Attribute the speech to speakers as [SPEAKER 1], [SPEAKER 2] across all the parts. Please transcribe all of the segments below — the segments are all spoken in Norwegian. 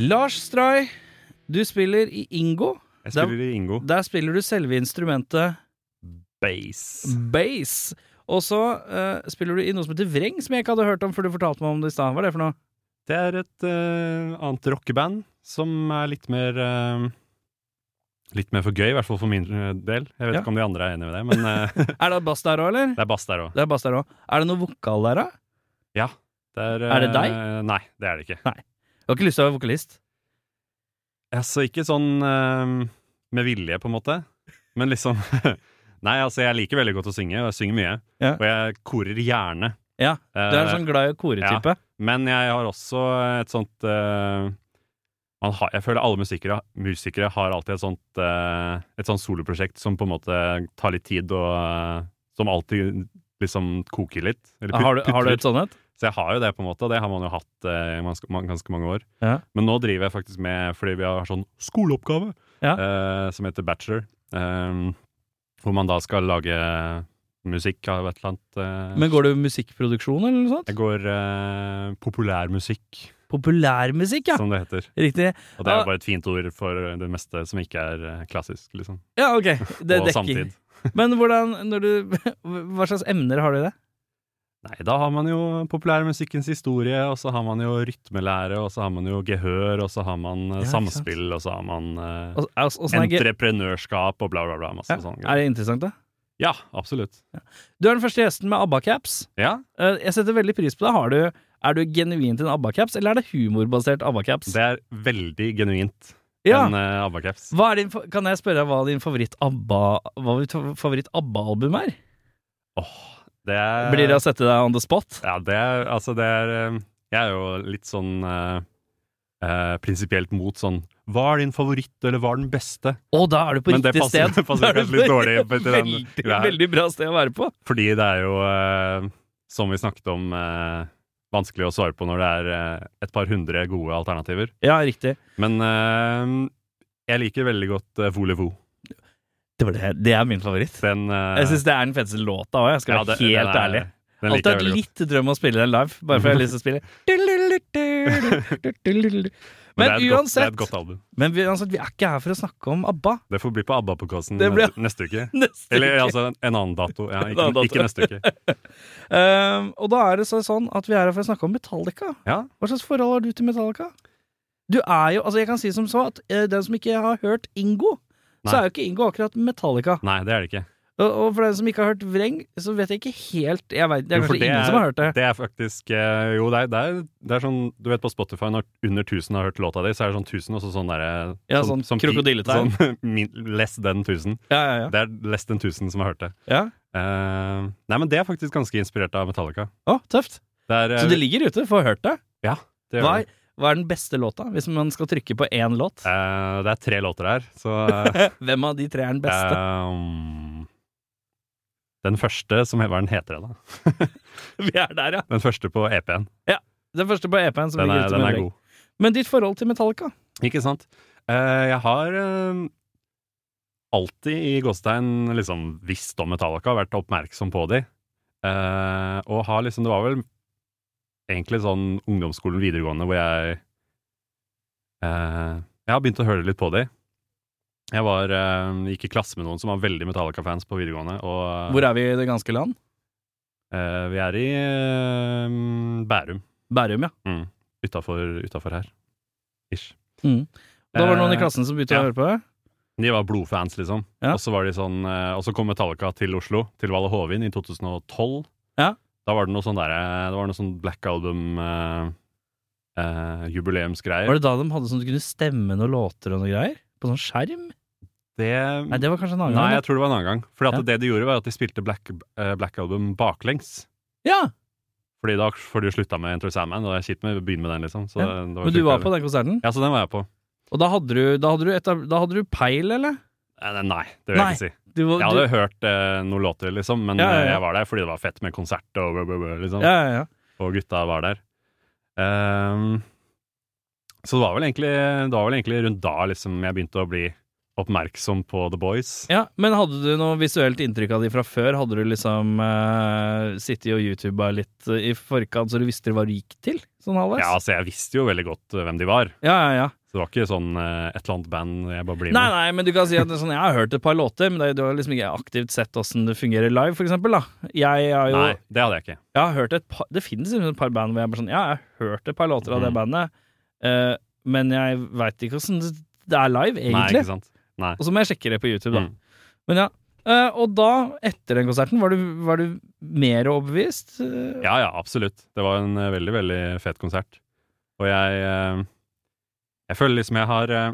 [SPEAKER 1] Lars Stray, du spiller i Ingo.
[SPEAKER 2] Jeg
[SPEAKER 1] Det er-
[SPEAKER 2] spiller i Ingo.
[SPEAKER 1] Der spiller du selve instrumentet
[SPEAKER 2] Base.
[SPEAKER 1] bass. Og så eh, spiller du i noe som heter vreng, som jeg ikke hadde hørt om før du fortalte meg om det i stad. Hva er det for noe?
[SPEAKER 2] Det er et eh, annet rockeband som er litt mer eh, Litt mer for gøy, i hvert fall for min eh, del. Jeg vet
[SPEAKER 1] Ja.
[SPEAKER 2] ikke om de andre er enig med det, men eh,
[SPEAKER 1] Er det bass der òg, eller?
[SPEAKER 2] det er bass der òg.
[SPEAKER 1] Det er bass der også. Er det noe vokal der, da?
[SPEAKER 2] Ja. Det er,
[SPEAKER 1] Er det
[SPEAKER 2] eh,
[SPEAKER 1] deg?
[SPEAKER 2] Nei, det er det ikke.
[SPEAKER 1] Jeg har ikke lyst til å være vokalist.
[SPEAKER 2] Altså, ikke sånn eh, med vilje, på en måte, men liksom Nei, altså, jeg liker veldig godt å synge, og jeg synger mye.
[SPEAKER 1] Ja.
[SPEAKER 2] Og jeg korer gjerne.
[SPEAKER 1] Ja, Du er en
[SPEAKER 2] Eh,
[SPEAKER 1] sånn glad i å kore-type.
[SPEAKER 2] Men jeg har også et sånt eh, man har, Jeg føler alle musikere, musikere har alltid et sånt, eh, et sånt soloprosjekt som på en måte tar litt tid, og eh, som alltid liksom koker litt. Eller put-
[SPEAKER 1] Har, du, har du et
[SPEAKER 2] putrer.
[SPEAKER 1] sånt et?
[SPEAKER 2] Så jeg har jo det, på en måte. og Det har man jo hatt eh, i ganske, man- ganske mange år.
[SPEAKER 1] Ja.
[SPEAKER 2] Men nå driver jeg faktisk med, fordi vi har sånn skoleoppgave eh, som heter bachelor, eh, hvor man da skal lage musikk av et eller annet. eh,
[SPEAKER 1] Men går du musikkproduksjon eller noe sånt?
[SPEAKER 2] jeg går eh, populærmusikk,
[SPEAKER 1] Populærmusikk, ja.
[SPEAKER 2] som det heter.
[SPEAKER 1] Riktig.
[SPEAKER 2] Og det er
[SPEAKER 1] Ja.
[SPEAKER 2] jo bare et fint ord for det meste som ikke er eh, klassisk, liksom.
[SPEAKER 1] Ja, ok. Det
[SPEAKER 2] og
[SPEAKER 1] dekker.
[SPEAKER 2] samtid.
[SPEAKER 1] Men hvordan når du, Hva slags emner har du i det?
[SPEAKER 2] Nei, da har man jo populærmusikkens historie, og så har man jo rytmelære, og så har man jo gehør, og så har man eh,
[SPEAKER 1] Ja, ikke sant.
[SPEAKER 2] samspill, og så har man eh,
[SPEAKER 1] Og- og- og sånn er ge-
[SPEAKER 2] entreprenørskap og sånn, bla, bla, bla. Masse
[SPEAKER 1] ja.
[SPEAKER 2] sånne
[SPEAKER 1] Er
[SPEAKER 2] greier.
[SPEAKER 1] det interessant, da?
[SPEAKER 2] Ja, absolutt.
[SPEAKER 1] Du er den første gjesten med ABBA-caps.
[SPEAKER 2] Ja,
[SPEAKER 1] Eh, Jeg setter veldig pris på det. Har du, er du genuint en ABBA-caps, eller er det humorbasert ABBA-caps?
[SPEAKER 2] det er veldig genuint,
[SPEAKER 1] Ja.
[SPEAKER 2] en eh, ABBA-caps.
[SPEAKER 1] Hva er din, fa- kan jeg spørre deg hva din favoritt ABBA Hva ditt favoritt ABBA-album er?
[SPEAKER 2] Åh, det er
[SPEAKER 1] Blir det å sette deg on the spot?
[SPEAKER 2] Ja, det er Altså, det er eh, Jeg er jo litt sånn eh, eh, prinsipielt mot sånn Hva er din favoritt, eller hva er den beste?
[SPEAKER 1] Å, da er du på
[SPEAKER 2] Men det
[SPEAKER 1] riktig
[SPEAKER 2] passer-
[SPEAKER 1] sted!
[SPEAKER 2] passer
[SPEAKER 1] Da er du
[SPEAKER 2] kanskje litt
[SPEAKER 1] på-
[SPEAKER 2] dårlig på- til den-
[SPEAKER 1] veldig,
[SPEAKER 2] til det her.
[SPEAKER 1] veldig bra sted å være på.
[SPEAKER 2] Fordi det er jo, eh, som vi snakket om, eh, vanskelig å svare på når det er eh, et par hundre gode alternativer.
[SPEAKER 1] Ja, riktig.
[SPEAKER 2] Men eh, jeg liker veldig godt eh, Volevo.
[SPEAKER 1] Det, var det, det er min favoritt.
[SPEAKER 2] Den eh,
[SPEAKER 1] Jeg syns det er den feteste låta òg, jeg skal
[SPEAKER 2] ja,
[SPEAKER 1] være
[SPEAKER 2] den-
[SPEAKER 1] helt
[SPEAKER 2] den er-
[SPEAKER 1] ærlig.
[SPEAKER 2] Den liker
[SPEAKER 1] Alltid
[SPEAKER 2] jeg
[SPEAKER 1] hatt
[SPEAKER 2] veldig godt.
[SPEAKER 1] litt drøm om å spille den live, bare fordi jeg har lyst til å spille.
[SPEAKER 2] Men, det,
[SPEAKER 1] Men
[SPEAKER 2] er et godt, det er
[SPEAKER 1] uansett,
[SPEAKER 2] et godt album.
[SPEAKER 1] men uansett, vi er ikke her for å snakke om ABBA.
[SPEAKER 2] Det får bli på ABBA-podkasten
[SPEAKER 1] Det blir-
[SPEAKER 2] neste, neste uke.
[SPEAKER 1] Neste
[SPEAKER 2] Eller
[SPEAKER 1] uke.
[SPEAKER 2] altså en annen dato. Ja,
[SPEAKER 1] En
[SPEAKER 2] ikke,
[SPEAKER 1] annen dato.
[SPEAKER 2] ikke neste uke.
[SPEAKER 1] Ehm, og da er det så, sånn at vi er her for å snakke om Metallica.
[SPEAKER 2] Ja.
[SPEAKER 1] Hva slags forhold har du til Metallica? Du er jo, altså Jeg kan si som så at eh, den som ikke har hørt Ingo, så
[SPEAKER 2] Nei.
[SPEAKER 1] er jo ikke Ingo akkurat Metallica.
[SPEAKER 2] Nei, det er det ikke.
[SPEAKER 1] Og, og for den som ikke har hørt Vreng, så vet jeg ikke helt jeg vet, Det er
[SPEAKER 2] Jo, for
[SPEAKER 1] kanskje ingen som har hørt det.
[SPEAKER 2] Det er faktisk eh, Jo, det er, det, er, det er sånn Du vet på Spotify når under 1000 har hørt låta di, så er det sånn 1000, og så sånn derre
[SPEAKER 1] Ja, sånn
[SPEAKER 2] pi-
[SPEAKER 1] krokodilletegn.
[SPEAKER 2] Sånn min- less than 1000.
[SPEAKER 1] Ja, ja, ja.
[SPEAKER 2] Det er less than 1000 som har hørt det.
[SPEAKER 1] ja.
[SPEAKER 2] Eh, nei, men det er faktisk ganske inspirert av Metallica.
[SPEAKER 1] Å, tøft.
[SPEAKER 2] Det er, eh,
[SPEAKER 1] Så det ligger ute, få hørt det.
[SPEAKER 2] det gjør
[SPEAKER 1] Hva
[SPEAKER 2] det.
[SPEAKER 1] er, hva er den beste låta, hvis man skal trykke på én låt?
[SPEAKER 2] Eh, det er tre låter her, så eh,
[SPEAKER 1] Hvem av de tre er den beste?
[SPEAKER 2] eh, Den første som Hva er den heter den, da?
[SPEAKER 1] Vi er der, ja.
[SPEAKER 2] Den første på EP-en.
[SPEAKER 1] Den første på EP-en som
[SPEAKER 2] Den
[SPEAKER 1] ligger
[SPEAKER 2] er,
[SPEAKER 1] ute
[SPEAKER 2] den
[SPEAKER 1] med
[SPEAKER 2] er
[SPEAKER 1] Vreng.
[SPEAKER 2] god.
[SPEAKER 1] Men ditt forhold til Metallica?
[SPEAKER 2] Ikke sant? Eh, jeg har eh, alltid i gåstein liksom visst om Metallica, vært oppmerksom på de. Eh, og har liksom, det var vel egentlig sånn ungdomsskolen, videregående, hvor jeg eh, Jeg har begynt å høre litt på de. Jeg var, eh, gikk i klasse med noen som var veldig Metallica-fans på videregående. Og,
[SPEAKER 1] Hvor er vi i det ganske land?
[SPEAKER 2] eh, vi er i eh, Bærum.
[SPEAKER 1] Bærum, ja.
[SPEAKER 2] Mm. utafor her. Ish.
[SPEAKER 1] Mm. Da var det noen i
[SPEAKER 2] Eh,
[SPEAKER 1] klassen som begynte
[SPEAKER 2] ja.
[SPEAKER 1] å høre på det.
[SPEAKER 2] De var blodfans, liksom.
[SPEAKER 1] Ja.
[SPEAKER 2] Og så var de sånn eh, Og så kom Metallica til Oslo, til Valle Hovin, i 2012.
[SPEAKER 1] Ja.
[SPEAKER 2] Da var det noe sånn der, eh, Det var noe sånn Black Album-jubileumsgreier. Eh, jubileumsgreier.
[SPEAKER 1] Var det da de hadde sånn du kunne stemme noen låter og noe greier? På sånn skjerm?
[SPEAKER 2] Det-
[SPEAKER 1] Nei, det var kanskje en annen
[SPEAKER 2] Nei,
[SPEAKER 1] gang.
[SPEAKER 2] jeg tror det var en annen gang. Fordi at
[SPEAKER 1] Ja.
[SPEAKER 2] det de gjorde, var at de spilte Black, eh, Black Album baklengs.
[SPEAKER 1] da. Ja,
[SPEAKER 2] Fordi da får du slutta med Enter Sandman, og det er kjipt med å begynne med den, liksom. Så
[SPEAKER 1] Ja.
[SPEAKER 2] det
[SPEAKER 1] Men du
[SPEAKER 2] sjukt
[SPEAKER 1] var
[SPEAKER 2] deilig.
[SPEAKER 1] på den konserten?
[SPEAKER 2] Ja, så den var jeg på.
[SPEAKER 1] Og da hadde du, da hadde du, etab da hadde du peil, eller?
[SPEAKER 2] Eh, Nei, det vil
[SPEAKER 1] Nei.
[SPEAKER 2] jeg ikke si.
[SPEAKER 1] Du, var-
[SPEAKER 2] Jeg
[SPEAKER 1] du,
[SPEAKER 2] hadde hørt eh, noen låter, liksom, men
[SPEAKER 1] Ja, ja,
[SPEAKER 2] eh,
[SPEAKER 1] ja.
[SPEAKER 2] jeg var der fordi det var fett med konsert og blah, blah, blah, liksom.
[SPEAKER 1] ja, ja, ja.
[SPEAKER 2] Og gutta var der. Ehm, så det var vel egentlig Det var vel egentlig rundt da liksom jeg begynte å bli oppmerksom på The Boys.
[SPEAKER 1] ja, Men hadde du noe visuelt inntrykk av de fra før? Hadde du liksom eh, sittet og youtuba litt eh, i forkant, så du visste hva du gikk til? Sånn halvveis?
[SPEAKER 2] Ja, altså Jeg visste jo veldig godt eh, hvem de var.
[SPEAKER 1] ja, ja. ja.
[SPEAKER 2] Så det var ikke sånn eh, et eller annet band jeg bare blir
[SPEAKER 1] Nei,
[SPEAKER 2] med.
[SPEAKER 1] nei, men du kan si at det er sånn, jeg har hørt et par låter, men det- du har liksom ikke aktivt sett åssen det fungerer live, for eksempel. Da. Jeg, har jo,
[SPEAKER 2] det hadde jeg ikke.
[SPEAKER 1] jeg har hørt et par Det finnes liksom et par band hvor jeg bare sånn Ja, jeg har hørt et par låter av det
[SPEAKER 2] Mm.
[SPEAKER 1] bandet, eh, men jeg veit ikke åssen det er live,
[SPEAKER 2] Nei,
[SPEAKER 1] egentlig.
[SPEAKER 2] ikke sant? Nei.
[SPEAKER 1] Og så må jeg sjekke det på YouTube, da.
[SPEAKER 2] Mm.
[SPEAKER 1] Men ja. Eh, og da, etter den konserten, var du, var du mer overbevist? Eh,
[SPEAKER 2] Ja, ja, absolutt. Det var en eh, veldig, veldig fet konsert. Og jeg eh, Jeg føler liksom jeg har eh,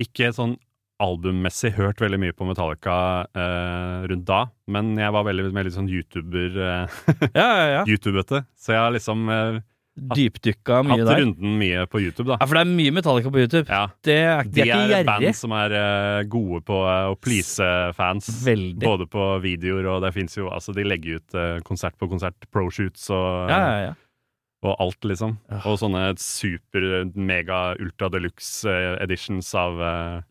[SPEAKER 2] ikke sånn albummessig hørt veldig mye på Metallica eh, rundt da, men jeg var veldig veldig sånn YouTuber eh,
[SPEAKER 1] ja, ja. ja.
[SPEAKER 2] YouTubete, så jeg har liksom eh,
[SPEAKER 1] Dypdykka mye
[SPEAKER 2] hatt
[SPEAKER 1] der.
[SPEAKER 2] runden mye på YouTube,
[SPEAKER 1] Ja,
[SPEAKER 2] da.
[SPEAKER 1] for det er mye Metallica på YouTube.
[SPEAKER 2] Ja.
[SPEAKER 1] Det er, de
[SPEAKER 2] De
[SPEAKER 1] er
[SPEAKER 2] er
[SPEAKER 1] ikke
[SPEAKER 2] et band
[SPEAKER 1] gjerrige.
[SPEAKER 2] som er eh, gode på eh, å please fans.
[SPEAKER 1] Veldig.
[SPEAKER 2] Både på videoer og det fins jo Altså, de legger ut eh, konsert på konsert, pro-shoots og
[SPEAKER 1] Ja, ja, ja.
[SPEAKER 2] og alt, liksom.
[SPEAKER 1] Ah.
[SPEAKER 2] Og sånne super, eh, mega, ultra deluxe eh, editions av eh,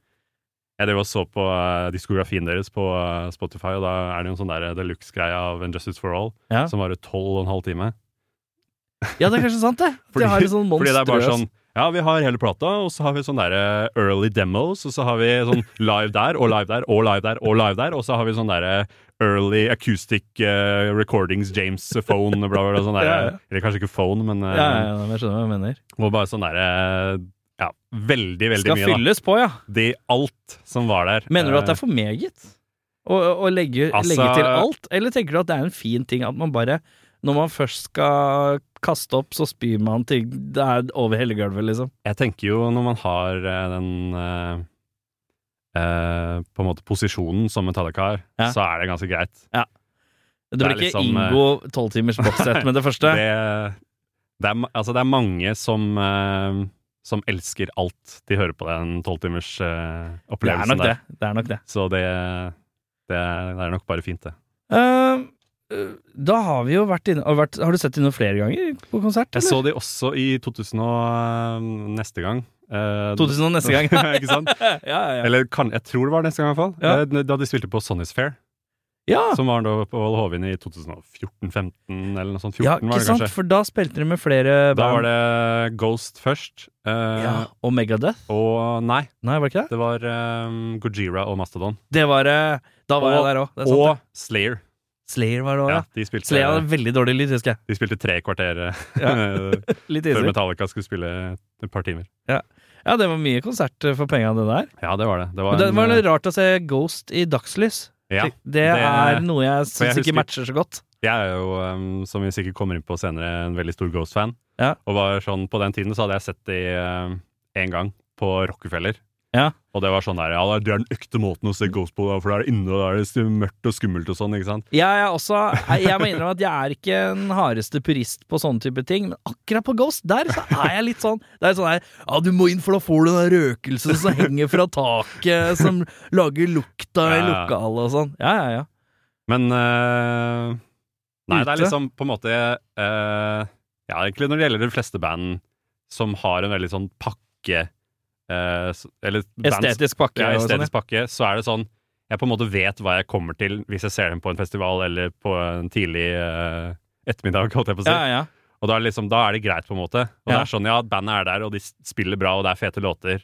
[SPEAKER 2] Jeg drev og så på eh, diskografien deres på eh, Spotify, og da er det jo en sånn der deluxe-greie av Injustice for All
[SPEAKER 1] Ja.
[SPEAKER 2] som varer tolv og en halv time.
[SPEAKER 1] ja, det er kanskje sant, det. de har en sånn
[SPEAKER 2] fordi det er bare
[SPEAKER 1] monstrøs
[SPEAKER 2] sånn ja, vi har hele plata, og så har vi sånne der eh, early demos, og så har vi sånn live der, og live der, og live der, og live der, og så har vi sånn derre early acoustic eh, recordings, James phone, bla, bla, bla, sånn der.
[SPEAKER 1] Ja, ja.
[SPEAKER 2] Eller kanskje ikke phone, men eh,
[SPEAKER 1] ja, ja, ja, men Jeg skjønner hva jeg mener.
[SPEAKER 2] Hvor bare sånn derre Ja, veldig, veldig
[SPEAKER 1] Skal
[SPEAKER 2] mye,
[SPEAKER 1] fylles på, ja.
[SPEAKER 2] da. Det alt som var der.
[SPEAKER 1] Mener du at det er for meget å, å, å legge,
[SPEAKER 2] Eh. Altså-
[SPEAKER 1] legge til alt? Eller tenker du at det er en fin ting at man bare Når man først skal kaste opp, så spyr man ting Det er over hele gulvet, liksom.
[SPEAKER 2] Eh, Jeg tenker jo når man har eh, den eh, eh, På en måte posisjonen som Metallica har,
[SPEAKER 1] Ja.
[SPEAKER 2] så er det ganske greit.
[SPEAKER 1] Det
[SPEAKER 2] Det
[SPEAKER 1] blir
[SPEAKER 2] er
[SPEAKER 1] ikke
[SPEAKER 2] liksom, eh,
[SPEAKER 1] Ingo tolvtimers bokssett med det første.
[SPEAKER 2] Det, det, er, ma- altså det er mange som eh, som elsker alt de hører på den tolvtimers uh,
[SPEAKER 1] Det er
[SPEAKER 2] opplevelsen
[SPEAKER 1] nok det.
[SPEAKER 2] der.
[SPEAKER 1] det, er nok det.
[SPEAKER 2] Så det, det, er, det er nok bare fint, det.
[SPEAKER 1] Eh, eh, da har vi jo vært inne har, vært, har du sett dem noen flere ganger på konsert?
[SPEAKER 2] Jeg så de også i 2000 og eh, neste gang. Eh,
[SPEAKER 1] 2000 og neste gang. ja,
[SPEAKER 2] ikke sant?
[SPEAKER 1] ja, ja.
[SPEAKER 2] Eller kan, jeg tror det var neste gang, i hvert fall.
[SPEAKER 1] Ja. Ah.
[SPEAKER 2] Eh, Da de spilte på Sonny's Fair,
[SPEAKER 1] ja.
[SPEAKER 2] som var da på Old Hovin i 2014-15, eller noe sånt. 14
[SPEAKER 1] ja,
[SPEAKER 2] var
[SPEAKER 1] ikke
[SPEAKER 2] det
[SPEAKER 1] sant?
[SPEAKER 2] kanskje.
[SPEAKER 1] For da spilte de med flere
[SPEAKER 2] Da var
[SPEAKER 1] band.
[SPEAKER 2] det Ghost først. eh,
[SPEAKER 1] ja, og Megadeth?
[SPEAKER 2] Og nei,
[SPEAKER 1] Nei, var det ikke det?
[SPEAKER 2] det var eh, Gojira og Mastodon.
[SPEAKER 1] Det var eh, Da var jeg
[SPEAKER 2] Og-
[SPEAKER 1] der òg. Det er sant.
[SPEAKER 2] Og Slayer.
[SPEAKER 1] det. Slayer var det òg,
[SPEAKER 2] Ja,
[SPEAKER 1] ja.
[SPEAKER 2] de, spilte,
[SPEAKER 1] Slayer hadde veldig dårlig lyd, husker jeg.
[SPEAKER 2] de spilte tre kvarter eh,
[SPEAKER 1] Litt
[SPEAKER 2] før
[SPEAKER 1] isig.
[SPEAKER 2] Metallica skulle spille et par timer.
[SPEAKER 1] Ja, det var mye konsert eh, for penga, det der.
[SPEAKER 2] Ja, det var det. Det
[SPEAKER 1] Men
[SPEAKER 2] var,
[SPEAKER 1] det
[SPEAKER 2] en,
[SPEAKER 1] var
[SPEAKER 2] eh,
[SPEAKER 1] litt rart å se Ghost i dagslys.
[SPEAKER 2] ja.
[SPEAKER 1] det er noe jeg
[SPEAKER 2] jeg
[SPEAKER 1] syns ikke
[SPEAKER 2] husker-
[SPEAKER 1] matcher så godt.
[SPEAKER 2] Jeg er jo, um, som vi sikkert kommer inn på senere, en veldig stor Ghost-fan.
[SPEAKER 1] Ja.
[SPEAKER 2] Og var sånn, på den tiden så hadde jeg sett de um, en gang på Rockefeller.
[SPEAKER 1] Ja.
[SPEAKER 2] Og det var sånn der, ja, det er den ekte måten å se Ghost på, da, for det er inne, og det er det mørkt og skummelt og sånn, ikke sant?
[SPEAKER 1] Jeg er også Jeg må innrømme at jeg er ikke den hardeste purist på sånne type ting, men akkurat på Ghost, der så er jeg litt sånn Det er sånn her Ja, du må inn, for da får du den der røkelsen som henger fra taket, som lager lukta i
[SPEAKER 2] Ja, ja.
[SPEAKER 1] lokalet og sånn. Ja, ja, ja.
[SPEAKER 2] Men eh, Nei, det er
[SPEAKER 1] Ute.
[SPEAKER 2] liksom på en måte eh, Ja, egentlig når det gjelder de fleste band som har en veldig sånn pakke eh, s- Eller bands
[SPEAKER 1] Estetisk pakke.
[SPEAKER 2] ja,
[SPEAKER 1] og sånn,
[SPEAKER 2] estetisk pakke, så er det sånn Jeg på en måte vet hva jeg kommer til hvis jeg ser dem på en festival eller på en tidlig eh, ettermiddag, holdt jeg på å si.
[SPEAKER 1] ja, ja.
[SPEAKER 2] Og da er, det liksom, da er det greit, på en måte. Og
[SPEAKER 1] Ja.
[SPEAKER 2] det er sånn, ja, bandet er der, og de s- spiller bra, og det er fete låter.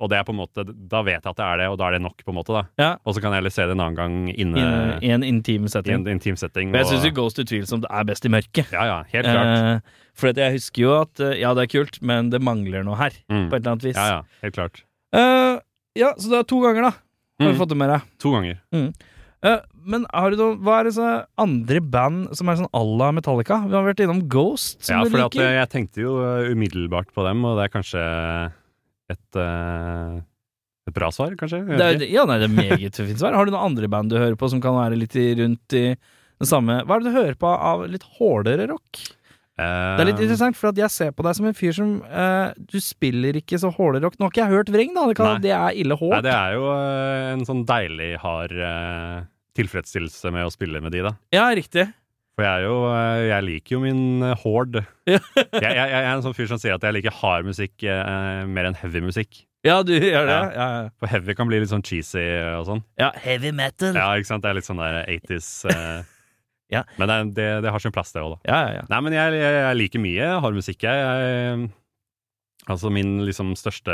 [SPEAKER 2] Og det er på en måte, da vet jeg at det er det, og da er det nok, på en måte. da.
[SPEAKER 1] Ja.
[SPEAKER 2] Og så kan jeg heller se det en annen gang
[SPEAKER 1] I
[SPEAKER 2] inne
[SPEAKER 1] en, i en intim
[SPEAKER 2] i en
[SPEAKER 1] setting.
[SPEAKER 2] intim setting.
[SPEAKER 1] Men jeg syns
[SPEAKER 2] og-
[SPEAKER 1] jo Ghost utvilsomt er best i mørket.
[SPEAKER 2] Ja, ja, helt klart.
[SPEAKER 1] Eh, for at jeg husker jo at eh, ja, det er kult, men det mangler noe her.
[SPEAKER 2] Mm.
[SPEAKER 1] På et eller annet vis.
[SPEAKER 2] Ja, ja, helt klart.
[SPEAKER 1] Eh, ja, så det er to ganger, da. Har
[SPEAKER 2] Mm.
[SPEAKER 1] du fått det med deg.
[SPEAKER 2] To ganger.
[SPEAKER 1] Eh, men har du noe, hva er det så andre band som er sånn à la Metallica? Vi har vært innom Ghost, som
[SPEAKER 2] Ja,
[SPEAKER 1] du
[SPEAKER 2] for at
[SPEAKER 1] liker.
[SPEAKER 2] eh, jeg tenkte jo eh, umiddelbart på dem, og det er kanskje et, eh, et bra svar, kanskje?
[SPEAKER 1] Det
[SPEAKER 2] Jeg vet
[SPEAKER 1] er, ja, nei, det er meget fint svar. Har du noen andre band du hører på som kan være litt i, rundt i den samme Hva er det du hører på av litt hårdere rock?
[SPEAKER 2] ikke. Eh,
[SPEAKER 1] Det er litt interessant, for at jeg ser på deg som en fyr som eh, Du spiller ikke så hårdere rock. Nå har ikke jeg hørt Vreng, da. Det, kan,
[SPEAKER 2] Nei.
[SPEAKER 1] det er ille
[SPEAKER 2] Nei,
[SPEAKER 1] håp.
[SPEAKER 2] det er jo eh, en sånn deilig, hard eh, tilfredsstillelse med å spille med de, da.
[SPEAKER 1] Ja, riktig.
[SPEAKER 2] For jeg er jo eh, Jeg liker jo min eh, horde. jeg, jeg, jeg er en sånn fyr som sier at jeg liker hard musikk eh, mer enn heavy musikk.
[SPEAKER 1] Ja, du gjør det.
[SPEAKER 2] Ja.
[SPEAKER 1] Ja, ja.
[SPEAKER 2] For heavy kan bli litt sånn cheesy og sånn.
[SPEAKER 1] ja heavy metal. Ja,
[SPEAKER 2] Ja, ikke sant? Det er litt sånn der 80s eh.
[SPEAKER 1] Ja.
[SPEAKER 2] Men det, er- det, det har sin plass, det òg, da.
[SPEAKER 1] ja, ja.
[SPEAKER 2] Nei, men jeg, jeg, jeg liker mye hard musikk, jeg. jeg altså min liksom største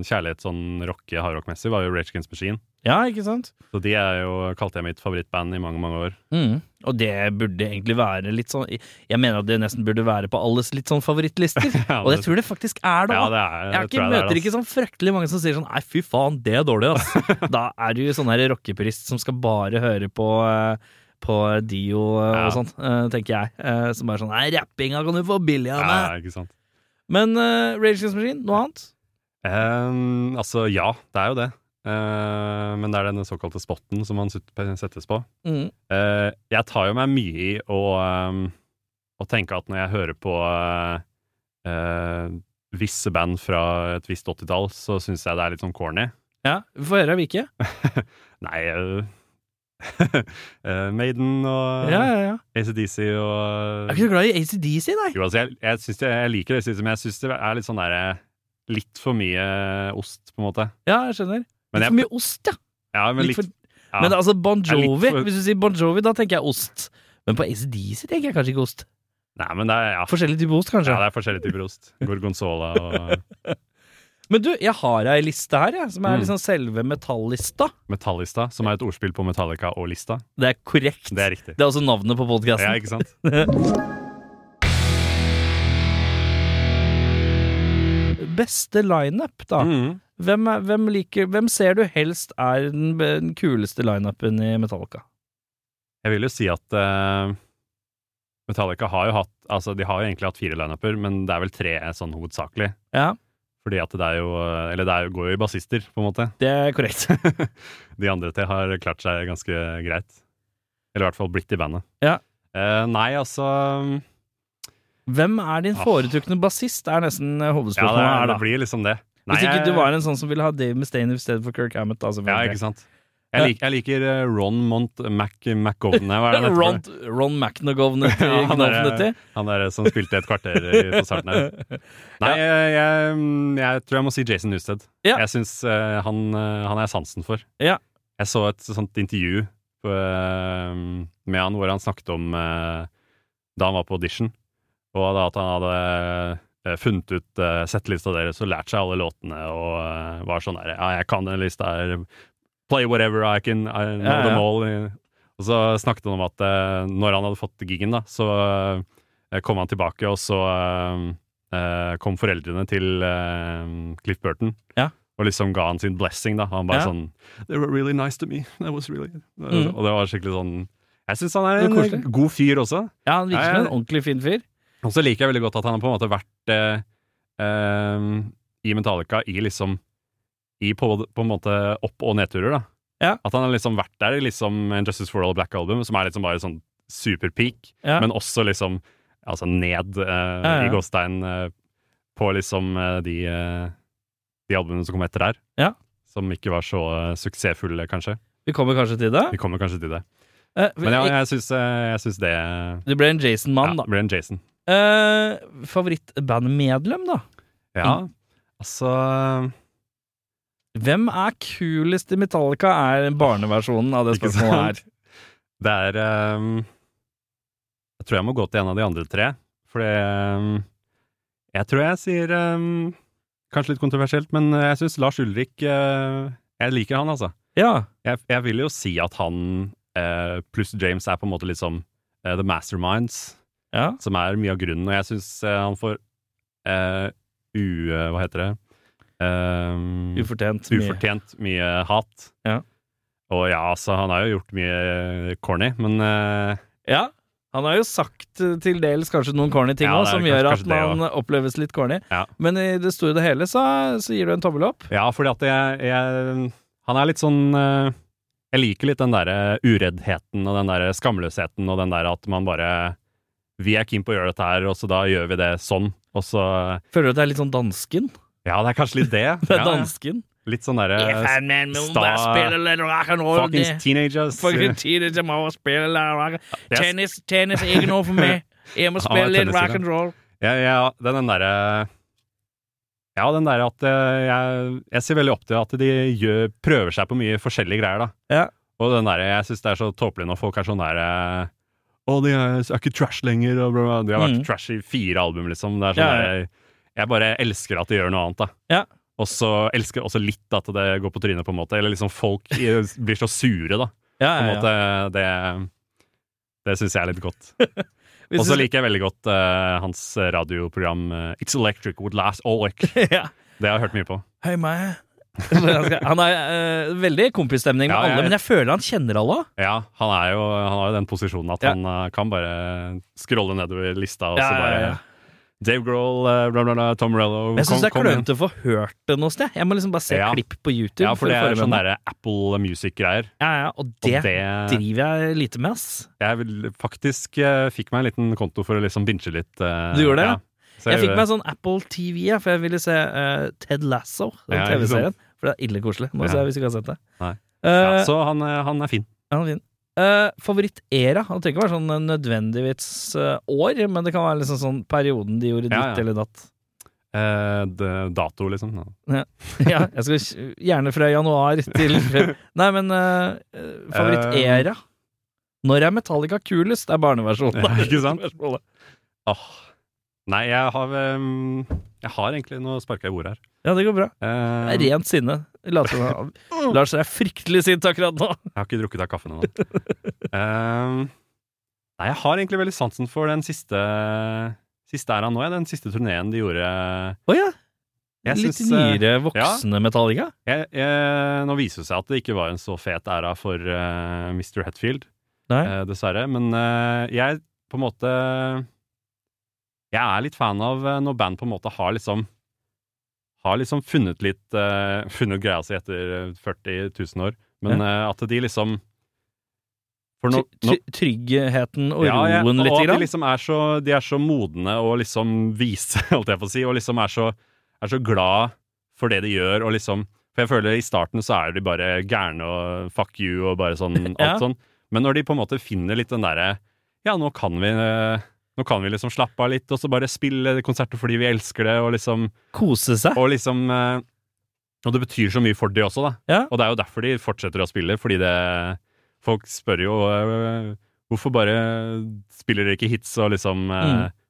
[SPEAKER 2] kjærlighet sånn rocke, hardrockmessig var jo Rage Against Machine.
[SPEAKER 1] ja ikke sant?
[SPEAKER 2] Så de er jo, kalte jeg mitt favorittband i mange, mange år.
[SPEAKER 1] Mm. Og det burde egentlig være litt sånn Jeg mener at det nesten burde være på alles litt sånn favorittlister.
[SPEAKER 2] Ja,
[SPEAKER 1] Og jeg tror det faktisk er det. da.
[SPEAKER 2] ja, det
[SPEAKER 1] Jeg,
[SPEAKER 2] er,
[SPEAKER 1] har
[SPEAKER 2] det
[SPEAKER 1] ikke,
[SPEAKER 2] tror jeg det er,
[SPEAKER 1] møter ikke sånn fryktelig mange som sier sånn Nei, fy faen, det er dårlig, ass. da er du jo sånn her rockepurist som skal bare høre på eh, på Dio eh,
[SPEAKER 2] Ja.
[SPEAKER 1] og sånt, eh, tenker jeg. eh, Som er sånn Nei, rappinga kan du få billig av
[SPEAKER 2] Ja,
[SPEAKER 1] meg.
[SPEAKER 2] ikke sant.
[SPEAKER 1] Men eh, Rage Against the Machine, noe annet?
[SPEAKER 2] Ehm, altså, ja, det er jo det. Ehm, men det er den såkalte spotten som man sut- settes på.
[SPEAKER 1] Mm.
[SPEAKER 2] Eh, jeg tar jo meg mye i å, ehm, å tenke at når jeg hører på eh, eh, visse band fra et visst 80-tall, så syns jeg det er litt sånn corny.
[SPEAKER 1] Ja, vi får høre hvilke.
[SPEAKER 2] Nei eh, eh, Maiden og
[SPEAKER 1] Ja, ja, ja.
[SPEAKER 2] ACDC og
[SPEAKER 1] Jeg er ikke så glad i ACDC, nei.
[SPEAKER 2] Jo, altså, jeg, jeg, syns det, jeg liker det, jeg syns det, men jeg syns det er litt sånn derre Litt for mye eh, ost, på en måte.
[SPEAKER 1] Ja, jeg skjønner.
[SPEAKER 2] Men
[SPEAKER 1] Litt
[SPEAKER 2] jeg-
[SPEAKER 1] for mye ost, ja.
[SPEAKER 2] Ja, men
[SPEAKER 1] Litt
[SPEAKER 2] litt,
[SPEAKER 1] for,
[SPEAKER 2] ja.
[SPEAKER 1] Men altså, Bon
[SPEAKER 2] er litt
[SPEAKER 1] Jovi
[SPEAKER 2] for-
[SPEAKER 1] Hvis du sier Bon Jovi, da tenker jeg ost. Men på ACDC tenker jeg kanskje ikke ost.
[SPEAKER 2] Nei, men det er, ja,
[SPEAKER 1] Forskjellig type ost, kanskje.
[SPEAKER 2] ja, det er forskjellige typer ost. Gorgonzola og
[SPEAKER 1] Men du, jeg har ei liste her, jeg, som er
[SPEAKER 2] Mm.
[SPEAKER 1] liksom selve metallista.
[SPEAKER 2] Metallista, som er et ordspill på Metallica og Lista.
[SPEAKER 1] Det er korrekt.
[SPEAKER 2] Det er riktig.
[SPEAKER 1] Det er også navnet på
[SPEAKER 2] Ja,
[SPEAKER 1] podkasten.
[SPEAKER 2] ikke sant?
[SPEAKER 1] Beste lineup, da.
[SPEAKER 2] Mhm.
[SPEAKER 1] Hvem, er, hvem, liker, hvem ser du helst er den, be- den kuleste lineupen i Metallica?
[SPEAKER 2] Jeg vil jo si at eh, Metallica har jo hatt Altså, de har jo egentlig hatt fire lineuper, men det er vel tre sånn hovedsakelig.
[SPEAKER 1] Ja,
[SPEAKER 2] Fordi at det er jo eh, Eller det er jo, går jo i bassister, på en måte.
[SPEAKER 1] det er korrekt.
[SPEAKER 2] De andre tre har klart seg ganske greit. Eller i hvert fall blitt i bandet.
[SPEAKER 1] Ja.
[SPEAKER 2] Eh, nei, altså
[SPEAKER 1] Hvem er din foretrukne bassist? er nesten eh,
[SPEAKER 2] Ah. Ja, det,
[SPEAKER 1] hovedspørsmålet her,
[SPEAKER 2] det
[SPEAKER 1] da.
[SPEAKER 2] blir liksom det. Nei,
[SPEAKER 1] Hvis ikke
[SPEAKER 2] jeg-
[SPEAKER 1] du var en sånn som ville ha Dave Mustaine i stedet for Kirk Hammett, da,
[SPEAKER 2] Ja,
[SPEAKER 1] selvfølgelig.
[SPEAKER 2] ikke sant. Jeg, lik, jeg liker eh, Ron Mont Mac McGovern. Hva er det han heter?
[SPEAKER 1] Ron, Ron McNagovne til
[SPEAKER 2] Ja, han
[SPEAKER 1] Gnovne
[SPEAKER 2] er-
[SPEAKER 1] til.
[SPEAKER 2] Han der som spilte et kvarter i- på starten her. Nei, jeg, jeg, jeg tror jeg må si Jason Newsted.
[SPEAKER 1] Ja.
[SPEAKER 2] Jeg syns eh, han, eh, han er sansen for.
[SPEAKER 1] Ja.
[SPEAKER 2] Jeg så et sånt intervju på, eh, med han hvor han snakket om eh, da han var på audition, og da at han hadde eh, funnet ut eh, settelista deres og lært seg alle låtene og eh, var sånn der Ja, jeg kan den lista her. Play whatever I can. I know
[SPEAKER 1] Ja, ja.
[SPEAKER 2] them all. Og så snakket han om at eh, når han hadde fått gigen, da, så eh, kom han tilbake, og så eh, eh, kom foreldrene til eh, Cliff Burton.
[SPEAKER 1] Ja.
[SPEAKER 2] Og liksom ga han sin blessing, da. Han bare
[SPEAKER 1] Ja.
[SPEAKER 2] sånn They were really nice to me. That was really
[SPEAKER 1] Mm.
[SPEAKER 2] Og det var skikkelig sånn Jeg syns han er
[SPEAKER 1] Det
[SPEAKER 2] en
[SPEAKER 1] var koselig.
[SPEAKER 2] god fyr også.
[SPEAKER 1] Ja, han virker
[SPEAKER 2] Nei,
[SPEAKER 1] som en ordentlig fin fyr.
[SPEAKER 2] Og så liker jeg veldig godt at han har på en måte vært eh, eh, i Metallica i liksom i på, på en måte opp- og nedturer, da.
[SPEAKER 1] Ja.
[SPEAKER 2] At han har liksom vært der i liksom en Justice for All Black Album, som er liksom bare sånn superpeak,
[SPEAKER 1] Ja.
[SPEAKER 2] men også liksom altså ned eh,
[SPEAKER 1] ja.
[SPEAKER 2] i gåstein eh, på liksom eh, de, eh, de albumene som kom etter der.
[SPEAKER 1] Ja.
[SPEAKER 2] Som ikke var så eh, suksessfulle, kanskje.
[SPEAKER 1] Vi kommer kanskje til det.
[SPEAKER 2] Vi kommer kanskje til det.
[SPEAKER 1] Eh,
[SPEAKER 2] Men ja, jeg syns, eh, jeg syns det
[SPEAKER 1] Du ble en Jason-mann,
[SPEAKER 2] ja,
[SPEAKER 1] da.
[SPEAKER 2] blir en Jason.
[SPEAKER 1] Eh, Favorittbandmedlem, da?
[SPEAKER 2] Ja,
[SPEAKER 1] Mm.
[SPEAKER 2] altså
[SPEAKER 1] Hvem er kulest i Metallica, er barneversjonen av det
[SPEAKER 2] Ikke
[SPEAKER 1] spørsmålet her.
[SPEAKER 2] Det er ehm, Jeg tror jeg må gå til en av de andre tre. For det ehm, Jeg tror jeg sier ehm, Kanskje litt kontroversielt, men eh, jeg syns Lars Ulrik eh, Jeg liker han, altså.
[SPEAKER 1] Ja.
[SPEAKER 2] Jeg, jeg vil jo si at han eh, pluss James er på en måte litt som eh, The Masterminds,
[SPEAKER 1] ja.
[SPEAKER 2] som er mye av grunnen. Og jeg syns eh, han får eh, u... eh, Hva heter det? Eh,
[SPEAKER 1] Ufortjent. mye.
[SPEAKER 2] ufortjent mye hat.
[SPEAKER 1] Ja.
[SPEAKER 2] Og ja, altså, han har jo gjort mye corny, men eh,
[SPEAKER 1] Ja. Han har jo sagt eh, til dels kanskje noen corny ting
[SPEAKER 2] Ja,
[SPEAKER 1] òg,
[SPEAKER 2] det er
[SPEAKER 1] som
[SPEAKER 2] kanskje-
[SPEAKER 1] gjør
[SPEAKER 2] kanskje
[SPEAKER 1] at
[SPEAKER 2] det
[SPEAKER 1] man oppleves litt corny.
[SPEAKER 2] Ja.
[SPEAKER 1] Men i det store og det hele så, så gir du en tommel opp.
[SPEAKER 2] ja, fordi at jeg, jeg Han er litt sånn eh, Jeg liker litt den derre ureddheten og den derre skamløsheten og den der at man bare Vi er keen på å gjøre dette her, og så da gjør vi det sånn, og så
[SPEAKER 1] Føler du at det er litt sånn dansken?
[SPEAKER 2] Ja, det er kanskje litt det.
[SPEAKER 1] Det er
[SPEAKER 2] Ja, ja.
[SPEAKER 1] dansken.
[SPEAKER 2] Litt sånn derre
[SPEAKER 1] man
[SPEAKER 2] må bare spille
[SPEAKER 1] litt rock'n'roll.
[SPEAKER 2] Fuckings teenagers.
[SPEAKER 1] tiden som må spille litt
[SPEAKER 2] Jeg-
[SPEAKER 1] tennis er ikke noe for meg. Jeg må
[SPEAKER 2] Han var spille litt tennisspiller.
[SPEAKER 1] roll.
[SPEAKER 2] Ja, ja den, den derre Ja, den derre at eh, jeg, jeg ser veldig opp til at de gjør, prøver seg på mye forskjellige greier, da.
[SPEAKER 1] Ja.
[SPEAKER 2] Og den derre Jeg syns det er så tåpelig når folk er sånn derre Å, de er, er ikke trash lenger, og bla, bla. De har vært
[SPEAKER 1] Mm.
[SPEAKER 2] trash i fire album, liksom. Det er sånn
[SPEAKER 1] Ja, ja.
[SPEAKER 2] derre- Jeg bare elsker at de gjør noe annet, da.
[SPEAKER 1] Ja.
[SPEAKER 2] Og så elsker jeg også litt at det går på trynet, på en måte. Eller liksom folk i- blir så sure, da.
[SPEAKER 1] Ja,
[SPEAKER 2] På en
[SPEAKER 1] ja, ja.
[SPEAKER 2] måte, det det syns jeg er litt godt.
[SPEAKER 1] Hvis
[SPEAKER 2] Og så
[SPEAKER 1] du-
[SPEAKER 2] liker jeg veldig godt eh, hans radioprogram eh, It's Electric with Lars Ulrik.
[SPEAKER 1] ja.
[SPEAKER 2] Det har jeg hørt mye på.
[SPEAKER 1] Hei, meg. Han er eh, veldig kompisstemning med
[SPEAKER 2] Ja, jeg-
[SPEAKER 1] alle, men jeg føler han kjenner alle.
[SPEAKER 2] Ja, han, er jo, han har jo den posisjonen at
[SPEAKER 1] Ja.
[SPEAKER 2] han eh, kan bare scrolle nedover lista og
[SPEAKER 1] Ja,
[SPEAKER 2] så
[SPEAKER 1] ja,
[SPEAKER 2] bare
[SPEAKER 1] ja.
[SPEAKER 2] Dave Grohl, eh, bla, bla, bla, Tom Morello
[SPEAKER 1] Men jeg syns
[SPEAKER 2] kom-
[SPEAKER 1] det er
[SPEAKER 2] kom igjen.
[SPEAKER 1] klønete å få hørt det noe sted. Jeg må liksom bare se
[SPEAKER 2] Ja.
[SPEAKER 1] klipp på YouTube.
[SPEAKER 2] Ja, for det
[SPEAKER 1] å få
[SPEAKER 2] er sånn
[SPEAKER 1] med meg.
[SPEAKER 2] derre Apple Music-greier.
[SPEAKER 1] ja, ja, og
[SPEAKER 2] Og
[SPEAKER 1] det,
[SPEAKER 2] det,
[SPEAKER 1] driver jeg lite med, ass.
[SPEAKER 2] Jeg vil, faktisk eh, fikk meg en liten konto for å liksom binche litt. eh,
[SPEAKER 1] Du gjorde det?
[SPEAKER 2] Ja. Så
[SPEAKER 1] Jeg fikk
[SPEAKER 2] gjorde-
[SPEAKER 1] meg en sånn Apple TV, ja, for jeg ville se eh, Ted Lasso, den
[SPEAKER 2] Ja, ikke
[SPEAKER 1] TV-serien. For det er ille koselig. Må
[SPEAKER 2] Ja.
[SPEAKER 1] se hvis du ikke har sett det.
[SPEAKER 2] Nei.
[SPEAKER 1] Eh,
[SPEAKER 2] ja, Så han, eh, han er fin.
[SPEAKER 1] ja, fin. Eh, favorittera? Det trenger ikke være sånn eh, nødvendigvis eh, år, men det kan være liksom sånn perioden de gjorde ditt
[SPEAKER 2] Ja, ja.
[SPEAKER 1] eller datt.
[SPEAKER 2] Eh, d- dato, liksom. Ja.
[SPEAKER 1] Ja, jeg skal kj- gjerne fra januar til Nei, men eh, favorittera? Når er Metallica kulest? Det er barneversjonen.
[SPEAKER 2] Ja, ikke sant?
[SPEAKER 1] Spørsmålet.
[SPEAKER 2] Åh. Nei, jeg har ehm, Jeg har egentlig Nå sparka jeg i bordet her.
[SPEAKER 1] Ja, det går bra.
[SPEAKER 2] Ehm,
[SPEAKER 1] Det er Rent sinne. Later som han- Lars er fryktelig sint akkurat nå.
[SPEAKER 2] jeg har ikke drukket av kaffen ennå. Ehm, nei, jeg har egentlig veldig sansen for den siste Siste æra nå, ja. Den siste turneen de gjorde.
[SPEAKER 1] Å ja.
[SPEAKER 2] Jeg
[SPEAKER 1] Litt
[SPEAKER 2] syns, eh,
[SPEAKER 1] nyere, voksne Metallica.
[SPEAKER 2] Jeg, jeg, nå viser det seg at det ikke var en så fet æra for eh, Mr. Hetfield.
[SPEAKER 1] Nei.
[SPEAKER 2] eh, dessverre. Men eh, jeg på en måte Jeg er litt fan av eh, når band på en måte har liksom Har liksom funnet litt eh, Funnet greia si etter eh, 40 000 år, men eh, at de liksom For nå,
[SPEAKER 1] Try-
[SPEAKER 2] nå
[SPEAKER 1] try- Tryggheten og
[SPEAKER 2] ja, ja,
[SPEAKER 1] roen
[SPEAKER 2] og
[SPEAKER 1] litt.
[SPEAKER 2] at de
[SPEAKER 1] Grann.
[SPEAKER 2] liksom er så, de er så modne og liksom vise, holdt jeg på å si, og liksom er så, er så glad for det de gjør, og liksom For jeg føler i starten så er de bare gærne og fuck you og bare sånn alt
[SPEAKER 1] Ja.
[SPEAKER 2] sånn. Men når de på en måte finner litt den derre Ja, nå kan vi eh, nå kan vi liksom slappe av litt, og så bare spille konserter fordi vi elsker det, og liksom
[SPEAKER 1] Kose seg.
[SPEAKER 2] Og liksom eh, Og det betyr så mye for de også, da.
[SPEAKER 1] Ja.
[SPEAKER 2] Og det er jo derfor de fortsetter å spille, fordi det Folk spør jo øh, hvorfor bare spiller dere ikke hits og liksom øh,
[SPEAKER 1] Mm.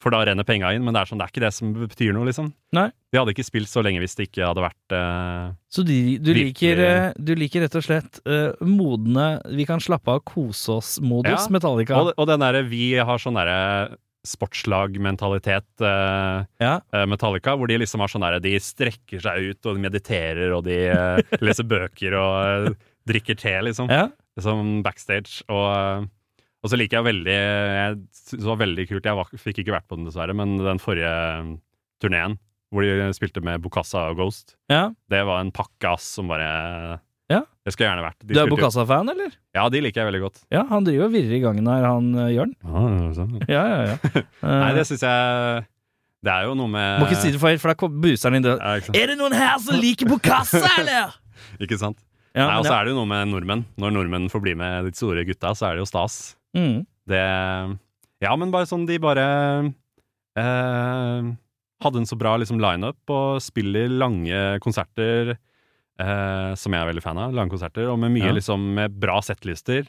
[SPEAKER 2] For da renner penga inn, men det er sånn, det er ikke det som betyr noe, liksom.
[SPEAKER 1] Nei.
[SPEAKER 2] De hadde ikke spilt så lenge hvis det ikke hadde vært øh,
[SPEAKER 1] Så de, du,
[SPEAKER 2] Virkelig.
[SPEAKER 1] liker, eh, du liker rett og slett eh, modne 'vi kan slappe av og kose oss'-modus,
[SPEAKER 2] Ja.
[SPEAKER 1] Metallica.
[SPEAKER 2] og, og den derre vi har sånn derre sportslagmentalitet, øh,
[SPEAKER 1] Ja.
[SPEAKER 2] øh, Metallica, hvor de liksom har sånn derre De strekker seg ut, og de mediterer, og de øh, leser bøker og øh, drikker te, liksom.
[SPEAKER 1] ja.
[SPEAKER 2] som backstage. Og, og så liker jeg veldig Jeg synes det var veldig kult. Jeg var, fikk ikke vært på den, dessverre, men den forrige um, turneen hvor de spilte med Bokassa og Ghost,
[SPEAKER 1] ja.
[SPEAKER 2] det var en pakke ass som bare
[SPEAKER 1] Ja.
[SPEAKER 2] Det skulle jeg gjerne vært. De
[SPEAKER 1] Du er
[SPEAKER 2] spilte jo-
[SPEAKER 1] Bokassa-fan, eller?
[SPEAKER 2] Ja, de liker jeg veldig godt.
[SPEAKER 1] Ja, han driver og virrer i gangen her, han eh, Jørn. Ja, ja, ja.
[SPEAKER 2] Nei, det
[SPEAKER 1] Eh,
[SPEAKER 2] syns jeg Det er jo noe med
[SPEAKER 1] Må ikke si det feil, for da kom- buser han inn døren.
[SPEAKER 2] Ja, ikke sant?
[SPEAKER 1] Er det noen her som liker Bokassa, eller?
[SPEAKER 2] Ikke sant?
[SPEAKER 1] Ja,
[SPEAKER 2] Nei, og så
[SPEAKER 1] men
[SPEAKER 2] er det jo noe med nordmenn. Når nordmenn får bli med de store gutta, så er det jo stas.
[SPEAKER 1] ja. Mm.
[SPEAKER 2] Det Ja, men bare sånn de bare eh, hadde en så bra liksom lineup og spiller lange konserter, eh, som jeg er veldig fan av, lange konserter, og med mye
[SPEAKER 1] Ja.
[SPEAKER 2] liksom med bra settlister.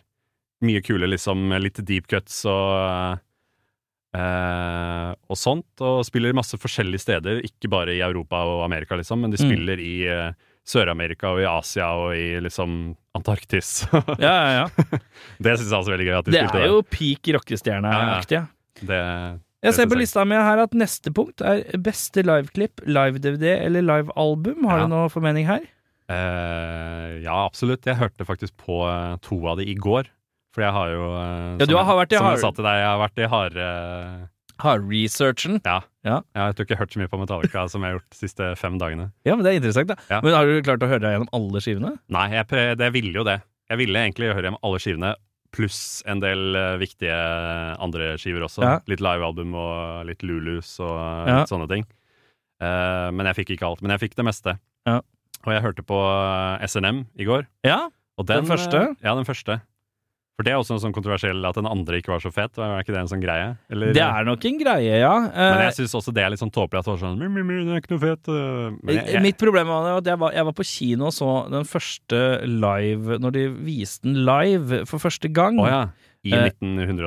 [SPEAKER 2] Mye kule liksom litt deep cuts og eh, og sånt. Og spiller masse forskjellige steder, ikke bare i Europa og Amerika, liksom, men de
[SPEAKER 1] Mm.
[SPEAKER 2] spiller i eh, Sør-Amerika og i Asia og i liksom Antarktis.
[SPEAKER 1] Ja, ja, ja.
[SPEAKER 2] det syns jeg også er veldig gøy at de
[SPEAKER 1] Det
[SPEAKER 2] spilte
[SPEAKER 1] er jo peak rockestjerneaktig. ja.
[SPEAKER 2] det. det.
[SPEAKER 1] Jeg ser
[SPEAKER 2] synes
[SPEAKER 1] på
[SPEAKER 2] jeg.
[SPEAKER 1] lista mi her at neste punkt er beste liveklipp, live-DVD eller live-album. Har
[SPEAKER 2] Ja.
[SPEAKER 1] du noe formening her?
[SPEAKER 2] Eh, ja, absolutt. Jeg hørte faktisk på eh, to av de i går. For jeg har jo eh,
[SPEAKER 1] Ja, du
[SPEAKER 2] som jeg-
[SPEAKER 1] har vært i
[SPEAKER 2] Som
[SPEAKER 1] hard-
[SPEAKER 2] jeg sa til deg, jeg har vært i harde eh,
[SPEAKER 1] Har researchen.
[SPEAKER 2] ja, Jeg tror ikke jeg har hørt så mye på Metallica som jeg har gjort de siste fem dagene.
[SPEAKER 1] Ja, men det er interessant, da.
[SPEAKER 2] Ja.
[SPEAKER 1] Men har du klart å høre deg gjennom alle skivene?
[SPEAKER 2] Nei, jeg, pre jeg ville jo det. Jeg ville egentlig høre hjem alle skivene, pluss en del eh, viktige andre skiver også.
[SPEAKER 1] Ja.
[SPEAKER 2] Litt livealbum og litt Lulus og eh,
[SPEAKER 1] Ja.
[SPEAKER 2] litt sånne ting. Eh, men jeg fikk ikke alt. Men jeg fikk det meste.
[SPEAKER 1] Ja.
[SPEAKER 2] Og jeg hørte på eh, SNM i går.
[SPEAKER 1] Ja.
[SPEAKER 2] Og
[SPEAKER 1] Den første?
[SPEAKER 2] eh, Ja, den første. For det er også en sånn kontroversiell at den andre ikke var så fet. Er ikke det en sånn greie? Eller-
[SPEAKER 1] Det er nok en greie, ja. Eh,
[SPEAKER 2] Men jeg syns også det er litt sånn tåpelig at det var sånn «Mi, mi, mi, Den er ikke noe fet. eh». Men jeg, jeg,
[SPEAKER 1] Mitt problem var det at jeg var, jeg var på kino og så den første live Når de viste den live for første gang.
[SPEAKER 2] Å ja. I
[SPEAKER 1] Eh,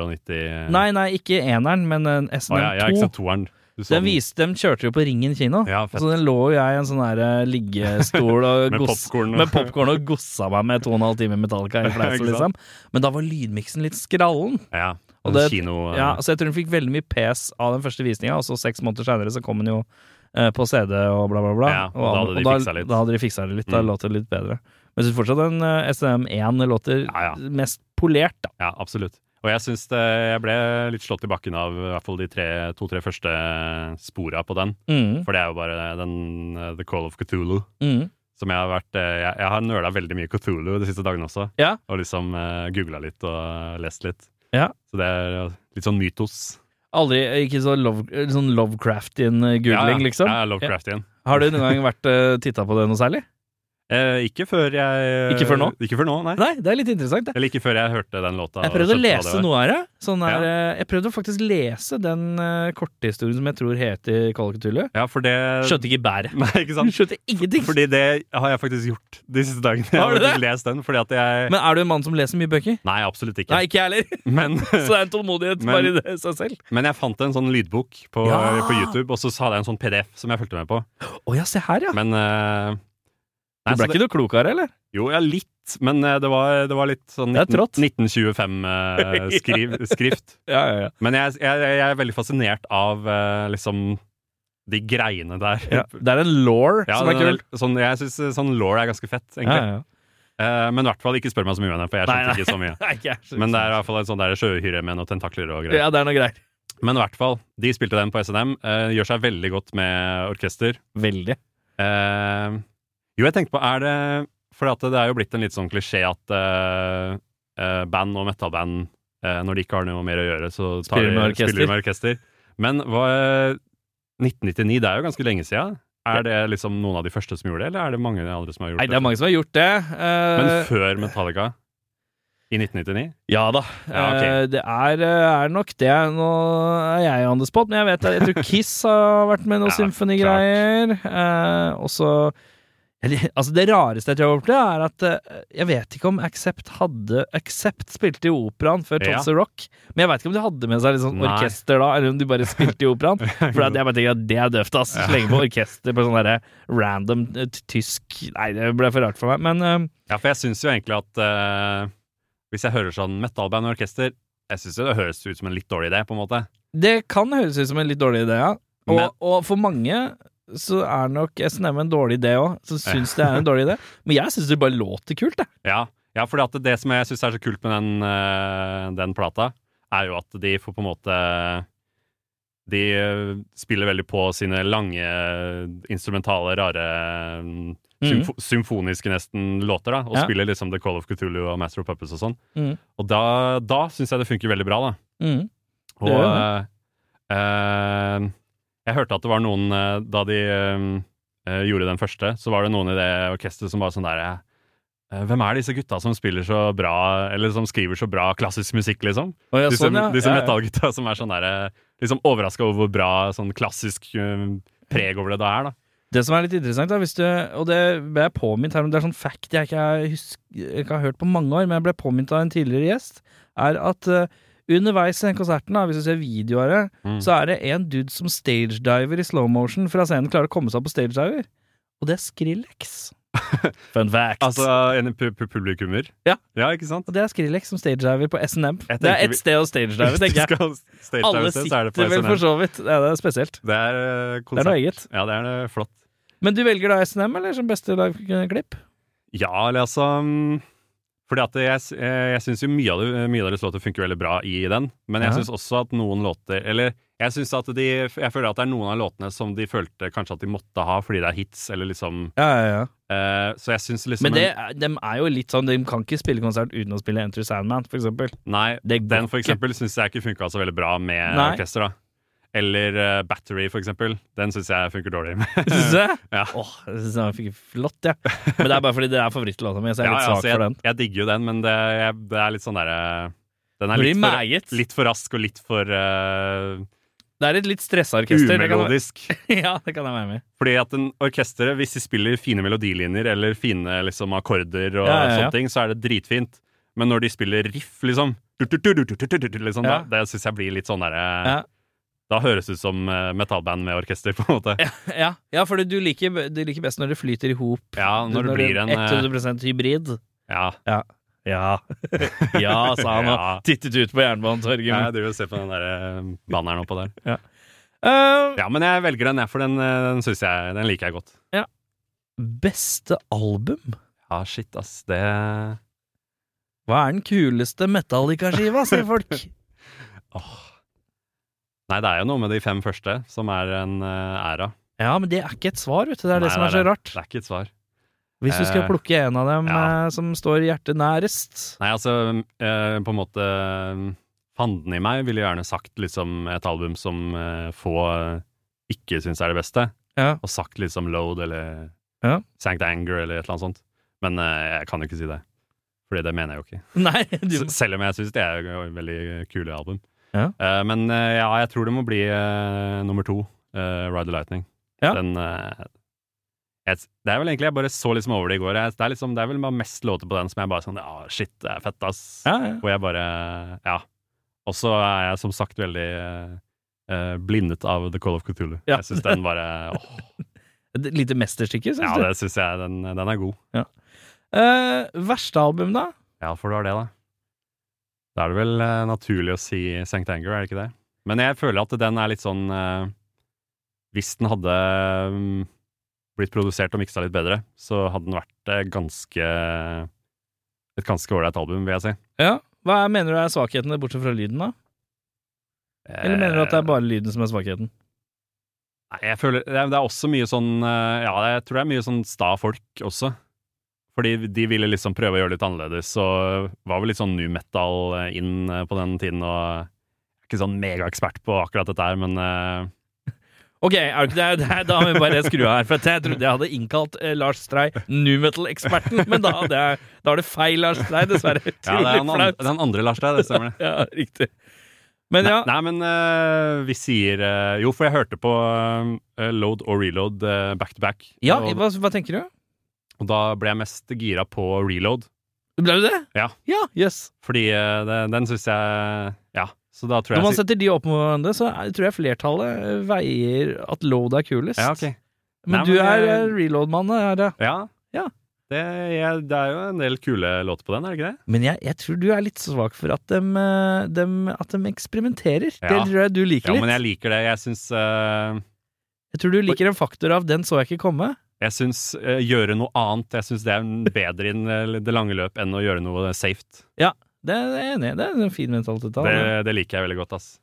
[SPEAKER 2] 1990
[SPEAKER 1] Nei, nei, ikke eneren, men en
[SPEAKER 2] Å ja, ja, ikke
[SPEAKER 1] SNM2.
[SPEAKER 2] sant, toeren. Du så
[SPEAKER 1] den viste, de kjørte jo på Ringen kino,
[SPEAKER 2] Ja, fett.
[SPEAKER 1] så den Altså, lå jo jeg i en sånn her eh, liggestol og
[SPEAKER 2] Med
[SPEAKER 1] goss-
[SPEAKER 2] popcorn og-
[SPEAKER 1] med popcorn og gossa meg med to og en halv time Metallica i fleisen,
[SPEAKER 2] Ikke
[SPEAKER 1] liksom.
[SPEAKER 2] sant?
[SPEAKER 1] Men da var lydmiksen litt skrallen.
[SPEAKER 2] Ja,
[SPEAKER 1] Og
[SPEAKER 2] det,
[SPEAKER 1] det-
[SPEAKER 2] kino... eh,
[SPEAKER 1] Ja, altså- så jeg tror hun fikk veldig mye pes av den første visninga, og så seks måneder seinere så kom hun jo eh, på CD og bla, bla, bla.
[SPEAKER 2] Ja, og da hadde de fiksa litt.
[SPEAKER 1] Da hadde de fiksa det litt, da
[SPEAKER 2] Mm.
[SPEAKER 1] låt det litt bedre. Men jeg synes fortsatt den eh, SNM1 låter
[SPEAKER 2] Ja, ja.
[SPEAKER 1] mest polert, da.
[SPEAKER 2] ja, absolutt. Og jeg syns det- jeg ble litt slått i bakken av i hvert fall de tre- to-tre første spora på den.
[SPEAKER 1] Mm,
[SPEAKER 2] For det er jo bare den eh, The Call of Cthulhu.
[SPEAKER 1] mm.
[SPEAKER 2] Som jeg har vært eh, Jeg, jeg har nøla veldig mye Cthulhu de siste dagene også.
[SPEAKER 1] Ja.
[SPEAKER 2] Og liksom uh, googla litt og eh, lest litt.
[SPEAKER 1] Ja.
[SPEAKER 2] Så det er eh, litt sånn mytos.
[SPEAKER 1] Aldri Ikke så love, sånn Lovecraftian eh, googling,
[SPEAKER 2] ja,
[SPEAKER 1] liksom.
[SPEAKER 2] Ja, Lovecraft igjen.
[SPEAKER 1] Har du noen gang vært uh, titta på det noe særlig?
[SPEAKER 2] Eh, ikke før jeg eh,
[SPEAKER 1] Ikke før nå?
[SPEAKER 2] Ikke før nå, nei.
[SPEAKER 1] Nei, det er litt interessant, det.
[SPEAKER 2] Eller ikke før jeg hørte den låta.
[SPEAKER 1] Jeg
[SPEAKER 2] og
[SPEAKER 1] prøvde å
[SPEAKER 2] skjønte hva det
[SPEAKER 1] lese
[SPEAKER 2] var.
[SPEAKER 1] noe av det. Sånn her, eh, jeg prøvde å faktisk lese den eh, korthistorien som jeg tror heter Kalkutullet.
[SPEAKER 2] Ja, for det
[SPEAKER 1] Skjønte ikke bæret.
[SPEAKER 2] Nei, ikke sant?
[SPEAKER 1] Skjønte ingenting.
[SPEAKER 2] Fordi det har jeg faktisk gjort de siste dagene. Jeg
[SPEAKER 1] Har
[SPEAKER 2] har
[SPEAKER 1] du
[SPEAKER 2] faktisk lest den, fordi at jeg
[SPEAKER 1] Men er du en mann som leser mye bøker?
[SPEAKER 2] Nei, absolutt ikke.
[SPEAKER 1] Nei, ikke jeg heller.
[SPEAKER 2] Men,
[SPEAKER 1] Så det er en tålmodighet
[SPEAKER 2] Men-
[SPEAKER 1] bare i det seg selv.
[SPEAKER 2] men jeg fant en sånn lydbok på,
[SPEAKER 1] Ja!
[SPEAKER 2] på YouTube, og så hadde jeg en sånn PDF som jeg fulgte med på.
[SPEAKER 1] Å ja, se her, ja.
[SPEAKER 2] Men eh, nei,
[SPEAKER 1] du ble
[SPEAKER 2] så
[SPEAKER 1] ikke noe klokere, eller?
[SPEAKER 2] det- Jo, ja, litt. Men eh, det, var, det var litt sånn
[SPEAKER 1] Det er
[SPEAKER 2] 19,
[SPEAKER 1] trått.
[SPEAKER 2] 1925-skrift.
[SPEAKER 1] Ja, ja, ja.
[SPEAKER 2] men jeg, jeg, jeg er veldig fascinert av eh, liksom de greiene der.
[SPEAKER 1] Det er en law
[SPEAKER 2] Ja,
[SPEAKER 1] som er
[SPEAKER 2] den-
[SPEAKER 1] kul.
[SPEAKER 2] sånn, jeg syns sånn law er ganske fett,
[SPEAKER 1] Ja,
[SPEAKER 2] egentlig.
[SPEAKER 1] ja.
[SPEAKER 2] Eh, men i hvert fall ikke spør meg så mye om den, for jeg
[SPEAKER 1] Nei,
[SPEAKER 2] skjønte ikke så mye.
[SPEAKER 1] Nei, ikke jeg skjønner.
[SPEAKER 2] Men det er i hvert fall en sånn der sjøhyremenn og tentakler og greier.
[SPEAKER 1] Ja, det er noe greier.
[SPEAKER 2] Men i hvert fall, de spilte den på SNM. eh, gjør seg veldig godt med orkester.
[SPEAKER 1] Veldig.
[SPEAKER 2] Eh, jo, jeg tenkte på, er det For at det er jo blitt en litt sånn klisjé at eh, eh, band og metalband, eh, når de ikke har noe mer å gjøre, så tar
[SPEAKER 1] Spiller med
[SPEAKER 2] de,
[SPEAKER 1] orkester.
[SPEAKER 2] spiller de med orkester. Men hva, 1999, det er jo ganske lenge siden. Er det liksom noen av de første som gjorde det, eller er det mange andre som har gjort
[SPEAKER 1] Nei, det er mange som har gjort det. eh,
[SPEAKER 2] Men før Metallica? I 1999?
[SPEAKER 1] Ja da.
[SPEAKER 2] Ja, ok.
[SPEAKER 1] Eh, Det er, eh, er nok det. Nå er jeg on the spot, men jeg vet Jeg tror Kiss har vært med noen
[SPEAKER 2] Ja,
[SPEAKER 1] symfonigreier. Eh, Og så eller, Altså, det rareste jeg tror jeg har opplevd, er at eh, jeg vet ikke om Accept hadde Accept spilte i operaen før
[SPEAKER 2] Ja.
[SPEAKER 1] Tons of Rock, men jeg vet ikke om de hadde med seg litt sånn
[SPEAKER 2] Nei.
[SPEAKER 1] orkester da, eller om de bare spilte i operaen. For at jeg bare tenker at det er døvt, ass. Slenge på orkester på sånn derre random eh, tysk Nei, det ble for rart for meg, men eh,
[SPEAKER 2] Ja, for jeg syns jo egentlig at eh, hvis jeg hører sånn metalband og orkester Jeg syns det høres ut som en litt dårlig idé, på en måte.
[SPEAKER 1] Det kan høres ut som en litt dårlig idé, ja. Og,
[SPEAKER 2] Men-
[SPEAKER 1] og for mange så er nok SNM en dårlig idé òg, som syns det er en dårlig idé. Men jeg syns det bare låter kult, jeg.
[SPEAKER 2] Ja, ja for det, det som jeg syns er så kult med den, eh, den plata, er jo at de får på en måte De eh, spiller veldig på sine lange, instrumentale, rare mm, symfo Symfoniske nesten låter, da, og
[SPEAKER 1] Ja.
[SPEAKER 2] spiller liksom The Call of Cthulhu og Master of Puppets og sånn.
[SPEAKER 1] Mhm.
[SPEAKER 2] Og da, da syns jeg det funker veldig bra, da.
[SPEAKER 1] Mm.
[SPEAKER 2] Og
[SPEAKER 1] Det gjør
[SPEAKER 2] eh, eh, jeg hørte at det var noen eh, Da de eh, eh, gjorde den første, så var det noen i det orkesteret som var sånn der eh, Hvem er disse gutta som spiller så bra, eller som skriver så bra klassisk musikk, liksom?
[SPEAKER 1] Og ja,
[SPEAKER 2] disse
[SPEAKER 1] sånn, ja.
[SPEAKER 2] disse
[SPEAKER 1] ja, ja.
[SPEAKER 2] metallgutta som er sånn der eh, Liksom overraska over hvor bra sånn klassisk eh, preg over det da er, da.
[SPEAKER 1] Det som er litt interessant, da, hvis du, og det ble jeg påminnet her om, det er sånn fact jeg ikke, har husk, jeg ikke har hørt på mange år, men jeg ble påminnet av en tidligere gjest, er at eh, Underveis i den konserten, da, hvis du ser videoer, her,
[SPEAKER 2] Mm.
[SPEAKER 1] så er det en dude som stagediver i slow motion fra scenen, klarer å komme seg opp på stagediver. Og det er Skrillex. Fun fact.
[SPEAKER 2] Altså en pu pu publikummer?
[SPEAKER 1] Ja.
[SPEAKER 2] ja, ikke sant?
[SPEAKER 1] og det er Skrillex som stagediver på SNM.
[SPEAKER 2] Jeg
[SPEAKER 1] Det
[SPEAKER 2] tenker
[SPEAKER 1] er
[SPEAKER 2] vi-
[SPEAKER 1] ett sted å stagedive,
[SPEAKER 2] Hvis du
[SPEAKER 1] tenker jeg.
[SPEAKER 2] skal stage
[SPEAKER 1] Alle
[SPEAKER 2] dive, så er
[SPEAKER 1] sitter
[SPEAKER 2] det på
[SPEAKER 1] vel for
[SPEAKER 2] SNM.
[SPEAKER 1] så vidt. Ja, det er spesielt.
[SPEAKER 2] Det er eh,
[SPEAKER 1] Det er
[SPEAKER 2] konsert.
[SPEAKER 1] noe eget.
[SPEAKER 2] Ja, det er eh, flott.
[SPEAKER 1] Men du velger da SNM, eller, som beste liveklipp?
[SPEAKER 2] Ja, eller altså mm, Fordi at jeg, s- eh, jeg syns jo mye av, det, mye av deres låter funker veldig bra i den, men jeg
[SPEAKER 1] Ja.
[SPEAKER 2] syns også at noen låter Eller jeg syns at de Jeg føler at det er noen av låtene som de følte kanskje at de måtte ha fordi det er hits, eller liksom
[SPEAKER 1] Ja, ja, ja.
[SPEAKER 2] eh, Så jeg syns liksom
[SPEAKER 1] Men det, er- dem er jo litt sånn, de kan ikke spille konsert uten å spille Enter Sandman, for eksempel.
[SPEAKER 2] Nei,
[SPEAKER 1] Det går
[SPEAKER 2] den for
[SPEAKER 1] ikke.
[SPEAKER 2] eksempel syns jeg ikke funka så veldig bra med
[SPEAKER 1] Nei.
[SPEAKER 2] orkester, da. Eller eh, Battery, for eksempel. Den syns jeg funker dårlig.
[SPEAKER 1] Syns du det?
[SPEAKER 2] Ja.
[SPEAKER 1] Åh, jeg synes den fikk flott, jeg. Ja. Men det er bare fordi det er favorittlåta mi, så jeg er
[SPEAKER 2] Ja,
[SPEAKER 1] litt
[SPEAKER 2] ja,
[SPEAKER 1] svak
[SPEAKER 2] altså, jeg,
[SPEAKER 1] for den.
[SPEAKER 2] Jeg digger jo den, men det, jeg, det er litt sånn derre Den er
[SPEAKER 1] Blir
[SPEAKER 2] litt for,
[SPEAKER 1] meget.
[SPEAKER 2] litt for rask og litt for eh,
[SPEAKER 1] Det er et litt stressa orkester. det kan jeg-
[SPEAKER 2] umelodisk.
[SPEAKER 1] ja, det kan jeg være med i.
[SPEAKER 2] Fordi at en orkesteret, hvis de spiller fine melodilinjer eller fine liksom, akkorder
[SPEAKER 1] Ja,
[SPEAKER 2] og
[SPEAKER 1] ja, ja.
[SPEAKER 2] sånne ting, så er det dritfint. Men når de spiller riff, liksom, du, du, du, du, du, du, du, du, liksom
[SPEAKER 1] Ja.
[SPEAKER 2] da, Det syns jeg blir litt sånn derre
[SPEAKER 1] Ja.
[SPEAKER 2] Da høres det ut som eh, metallband med orkester, på en måte.
[SPEAKER 1] Ja, ja for du liker, du liker best når det flyter i hop.
[SPEAKER 2] Ja, når det blir en eh,
[SPEAKER 1] 100 hybrid.
[SPEAKER 2] Ja.
[SPEAKER 1] Ja. ja, sa han og
[SPEAKER 2] Ja.
[SPEAKER 1] tittet ut på Jernbanetorget.
[SPEAKER 2] Ja, jeg driver og ser på den der eh, banneren oppå der.
[SPEAKER 1] Eh,
[SPEAKER 2] Ja, men jeg velger den, jeg, for den, eh, den synes jeg Den liker jeg godt.
[SPEAKER 1] Beste album?
[SPEAKER 2] Ja, shit, ass. Det
[SPEAKER 1] Hva er den kuleste Metallica-skiva, sier folk.
[SPEAKER 2] Nei, det er jo noe med de fem første som er en eh, æra.
[SPEAKER 1] Ja, men det er ikke et svar, vet du. Det er
[SPEAKER 2] Nei,
[SPEAKER 1] det som
[SPEAKER 2] nei,
[SPEAKER 1] er så
[SPEAKER 2] nei.
[SPEAKER 1] rart.
[SPEAKER 2] Det er ikke et svar.
[SPEAKER 1] Hvis du skal
[SPEAKER 2] Eh,
[SPEAKER 1] plukke en av dem
[SPEAKER 2] ja.
[SPEAKER 1] eh, som står hjertet nærest
[SPEAKER 2] Nei, altså, eh, på en måte eh, Fanden i meg ville gjerne sagt liksom et album som eh, få eh, ikke syns er det beste,
[SPEAKER 1] Ja.
[SPEAKER 2] og sagt liksom Load eller
[SPEAKER 1] Ja.
[SPEAKER 2] Sankt Anger eller et eller annet sånt. Men eh, jeg kan jo ikke si det, Fordi det mener jeg jo ikke.
[SPEAKER 1] Nei, du
[SPEAKER 2] S- Selv om jeg syns det er jo et veldig kule album.
[SPEAKER 1] Ja.
[SPEAKER 2] Eh, men eh, ja, jeg tror det må bli eh, nummer to, eh, Ride the Lightning.
[SPEAKER 1] Ja.
[SPEAKER 2] Den eh, jeg, s- Det er vel egentlig jeg bare så liksom over det i går. Jeg, det, er liksom, det er vel bare mest låter på den som jeg bare sånn Ja, shit, det er fett, ass.
[SPEAKER 1] ja, ja.
[SPEAKER 2] Hvor jeg bare Ja. Og så er jeg som sagt veldig eh, eh, blindet av The Call of Cthulhu.
[SPEAKER 1] Ja.
[SPEAKER 2] Jeg syns den bare åh,
[SPEAKER 1] Et lite mesterstykke, syns
[SPEAKER 2] Ja,
[SPEAKER 1] du?
[SPEAKER 2] det syns jeg. Den, den er god.
[SPEAKER 1] Eh, verste album, da?
[SPEAKER 2] Ja, for du har det, da. Da er det vel eh, naturlig å si St. Anger, er det ikke det? Men jeg føler at den er litt sånn eh, Hvis den hadde mm, blitt produsert og miksa litt bedre, så hadde den vært eh, ganske et ganske ålreit album, vil jeg si.
[SPEAKER 1] Ja. Hva er, mener du er svakhetene, bortsett fra lyden, da? Eller mener du
[SPEAKER 2] Eh.
[SPEAKER 1] at det er bare lyden som er svakheten?
[SPEAKER 2] Nei, jeg føler det er, det er også mye sånn eh, Ja, jeg tror det er mye sånn sta folk også. Fordi de ville liksom prøve å gjøre det litt annerledes, og var vel litt sånn new metal eh, inn eh, på den tiden. Og jeg er ikke sånn megaekspert på akkurat dette her, men eh,
[SPEAKER 1] Ok, er det ikke det, det er- da må vi bare skru av her. For at jeg trodde jeg hadde innkalt eh, Lars Strei, nu metal-eksperten, men da, hadde jeg, da er det feil, Lars Strei. Dessverre.
[SPEAKER 2] ja, det er
[SPEAKER 1] Utrolig
[SPEAKER 2] den andre,
[SPEAKER 1] flaut.
[SPEAKER 2] den andre Lars der, det stemmer det.
[SPEAKER 1] Ja, riktig. Men ja,
[SPEAKER 2] Nei, nei, men eh, vi sier eh, Jo, for jeg hørte på eh, Load og Reload eh, back to back.
[SPEAKER 1] ja
[SPEAKER 2] og,
[SPEAKER 1] hva, hva tenker du?
[SPEAKER 2] og da ble jeg mest gira på Reload,
[SPEAKER 1] Ble du det?
[SPEAKER 2] Ja.
[SPEAKER 1] Ja, jøss.
[SPEAKER 2] fordi eh, det, den syns jeg Ja, så da tror
[SPEAKER 1] Når
[SPEAKER 2] jeg
[SPEAKER 1] man
[SPEAKER 2] jeg sier-
[SPEAKER 1] setter de opp mot hverandre, så er- tror jeg flertallet eh, veier at load er kulest.
[SPEAKER 2] ja, ok.
[SPEAKER 1] Men
[SPEAKER 2] Nei,
[SPEAKER 1] du
[SPEAKER 2] men
[SPEAKER 1] er
[SPEAKER 2] jeg-
[SPEAKER 1] eh, reload-mann. er det.
[SPEAKER 2] Ja.
[SPEAKER 1] Ja.
[SPEAKER 2] Det, jeg, det er jo en del kule låter på den, er det ikke det?
[SPEAKER 1] Men jeg, jeg tror du er litt svak for at de, at dem eksperimenterer. Det
[SPEAKER 2] Ja.
[SPEAKER 1] tror jeg du liker
[SPEAKER 2] Ja,
[SPEAKER 1] litt.
[SPEAKER 2] men
[SPEAKER 1] jeg,
[SPEAKER 2] jeg liker det. Jeg syns eh,
[SPEAKER 1] tror du liker en faktor av 'den så jeg ikke komme'.
[SPEAKER 2] jeg syns eh, gjøre noe annet. Jeg syns det er bedre i den- eh, det lange løp enn å gjøre noe safe.
[SPEAKER 1] Det er jeg enig i. Det er en fin mentalitet.
[SPEAKER 2] Det,
[SPEAKER 1] Det...
[SPEAKER 2] det liker jeg veldig godt, ass.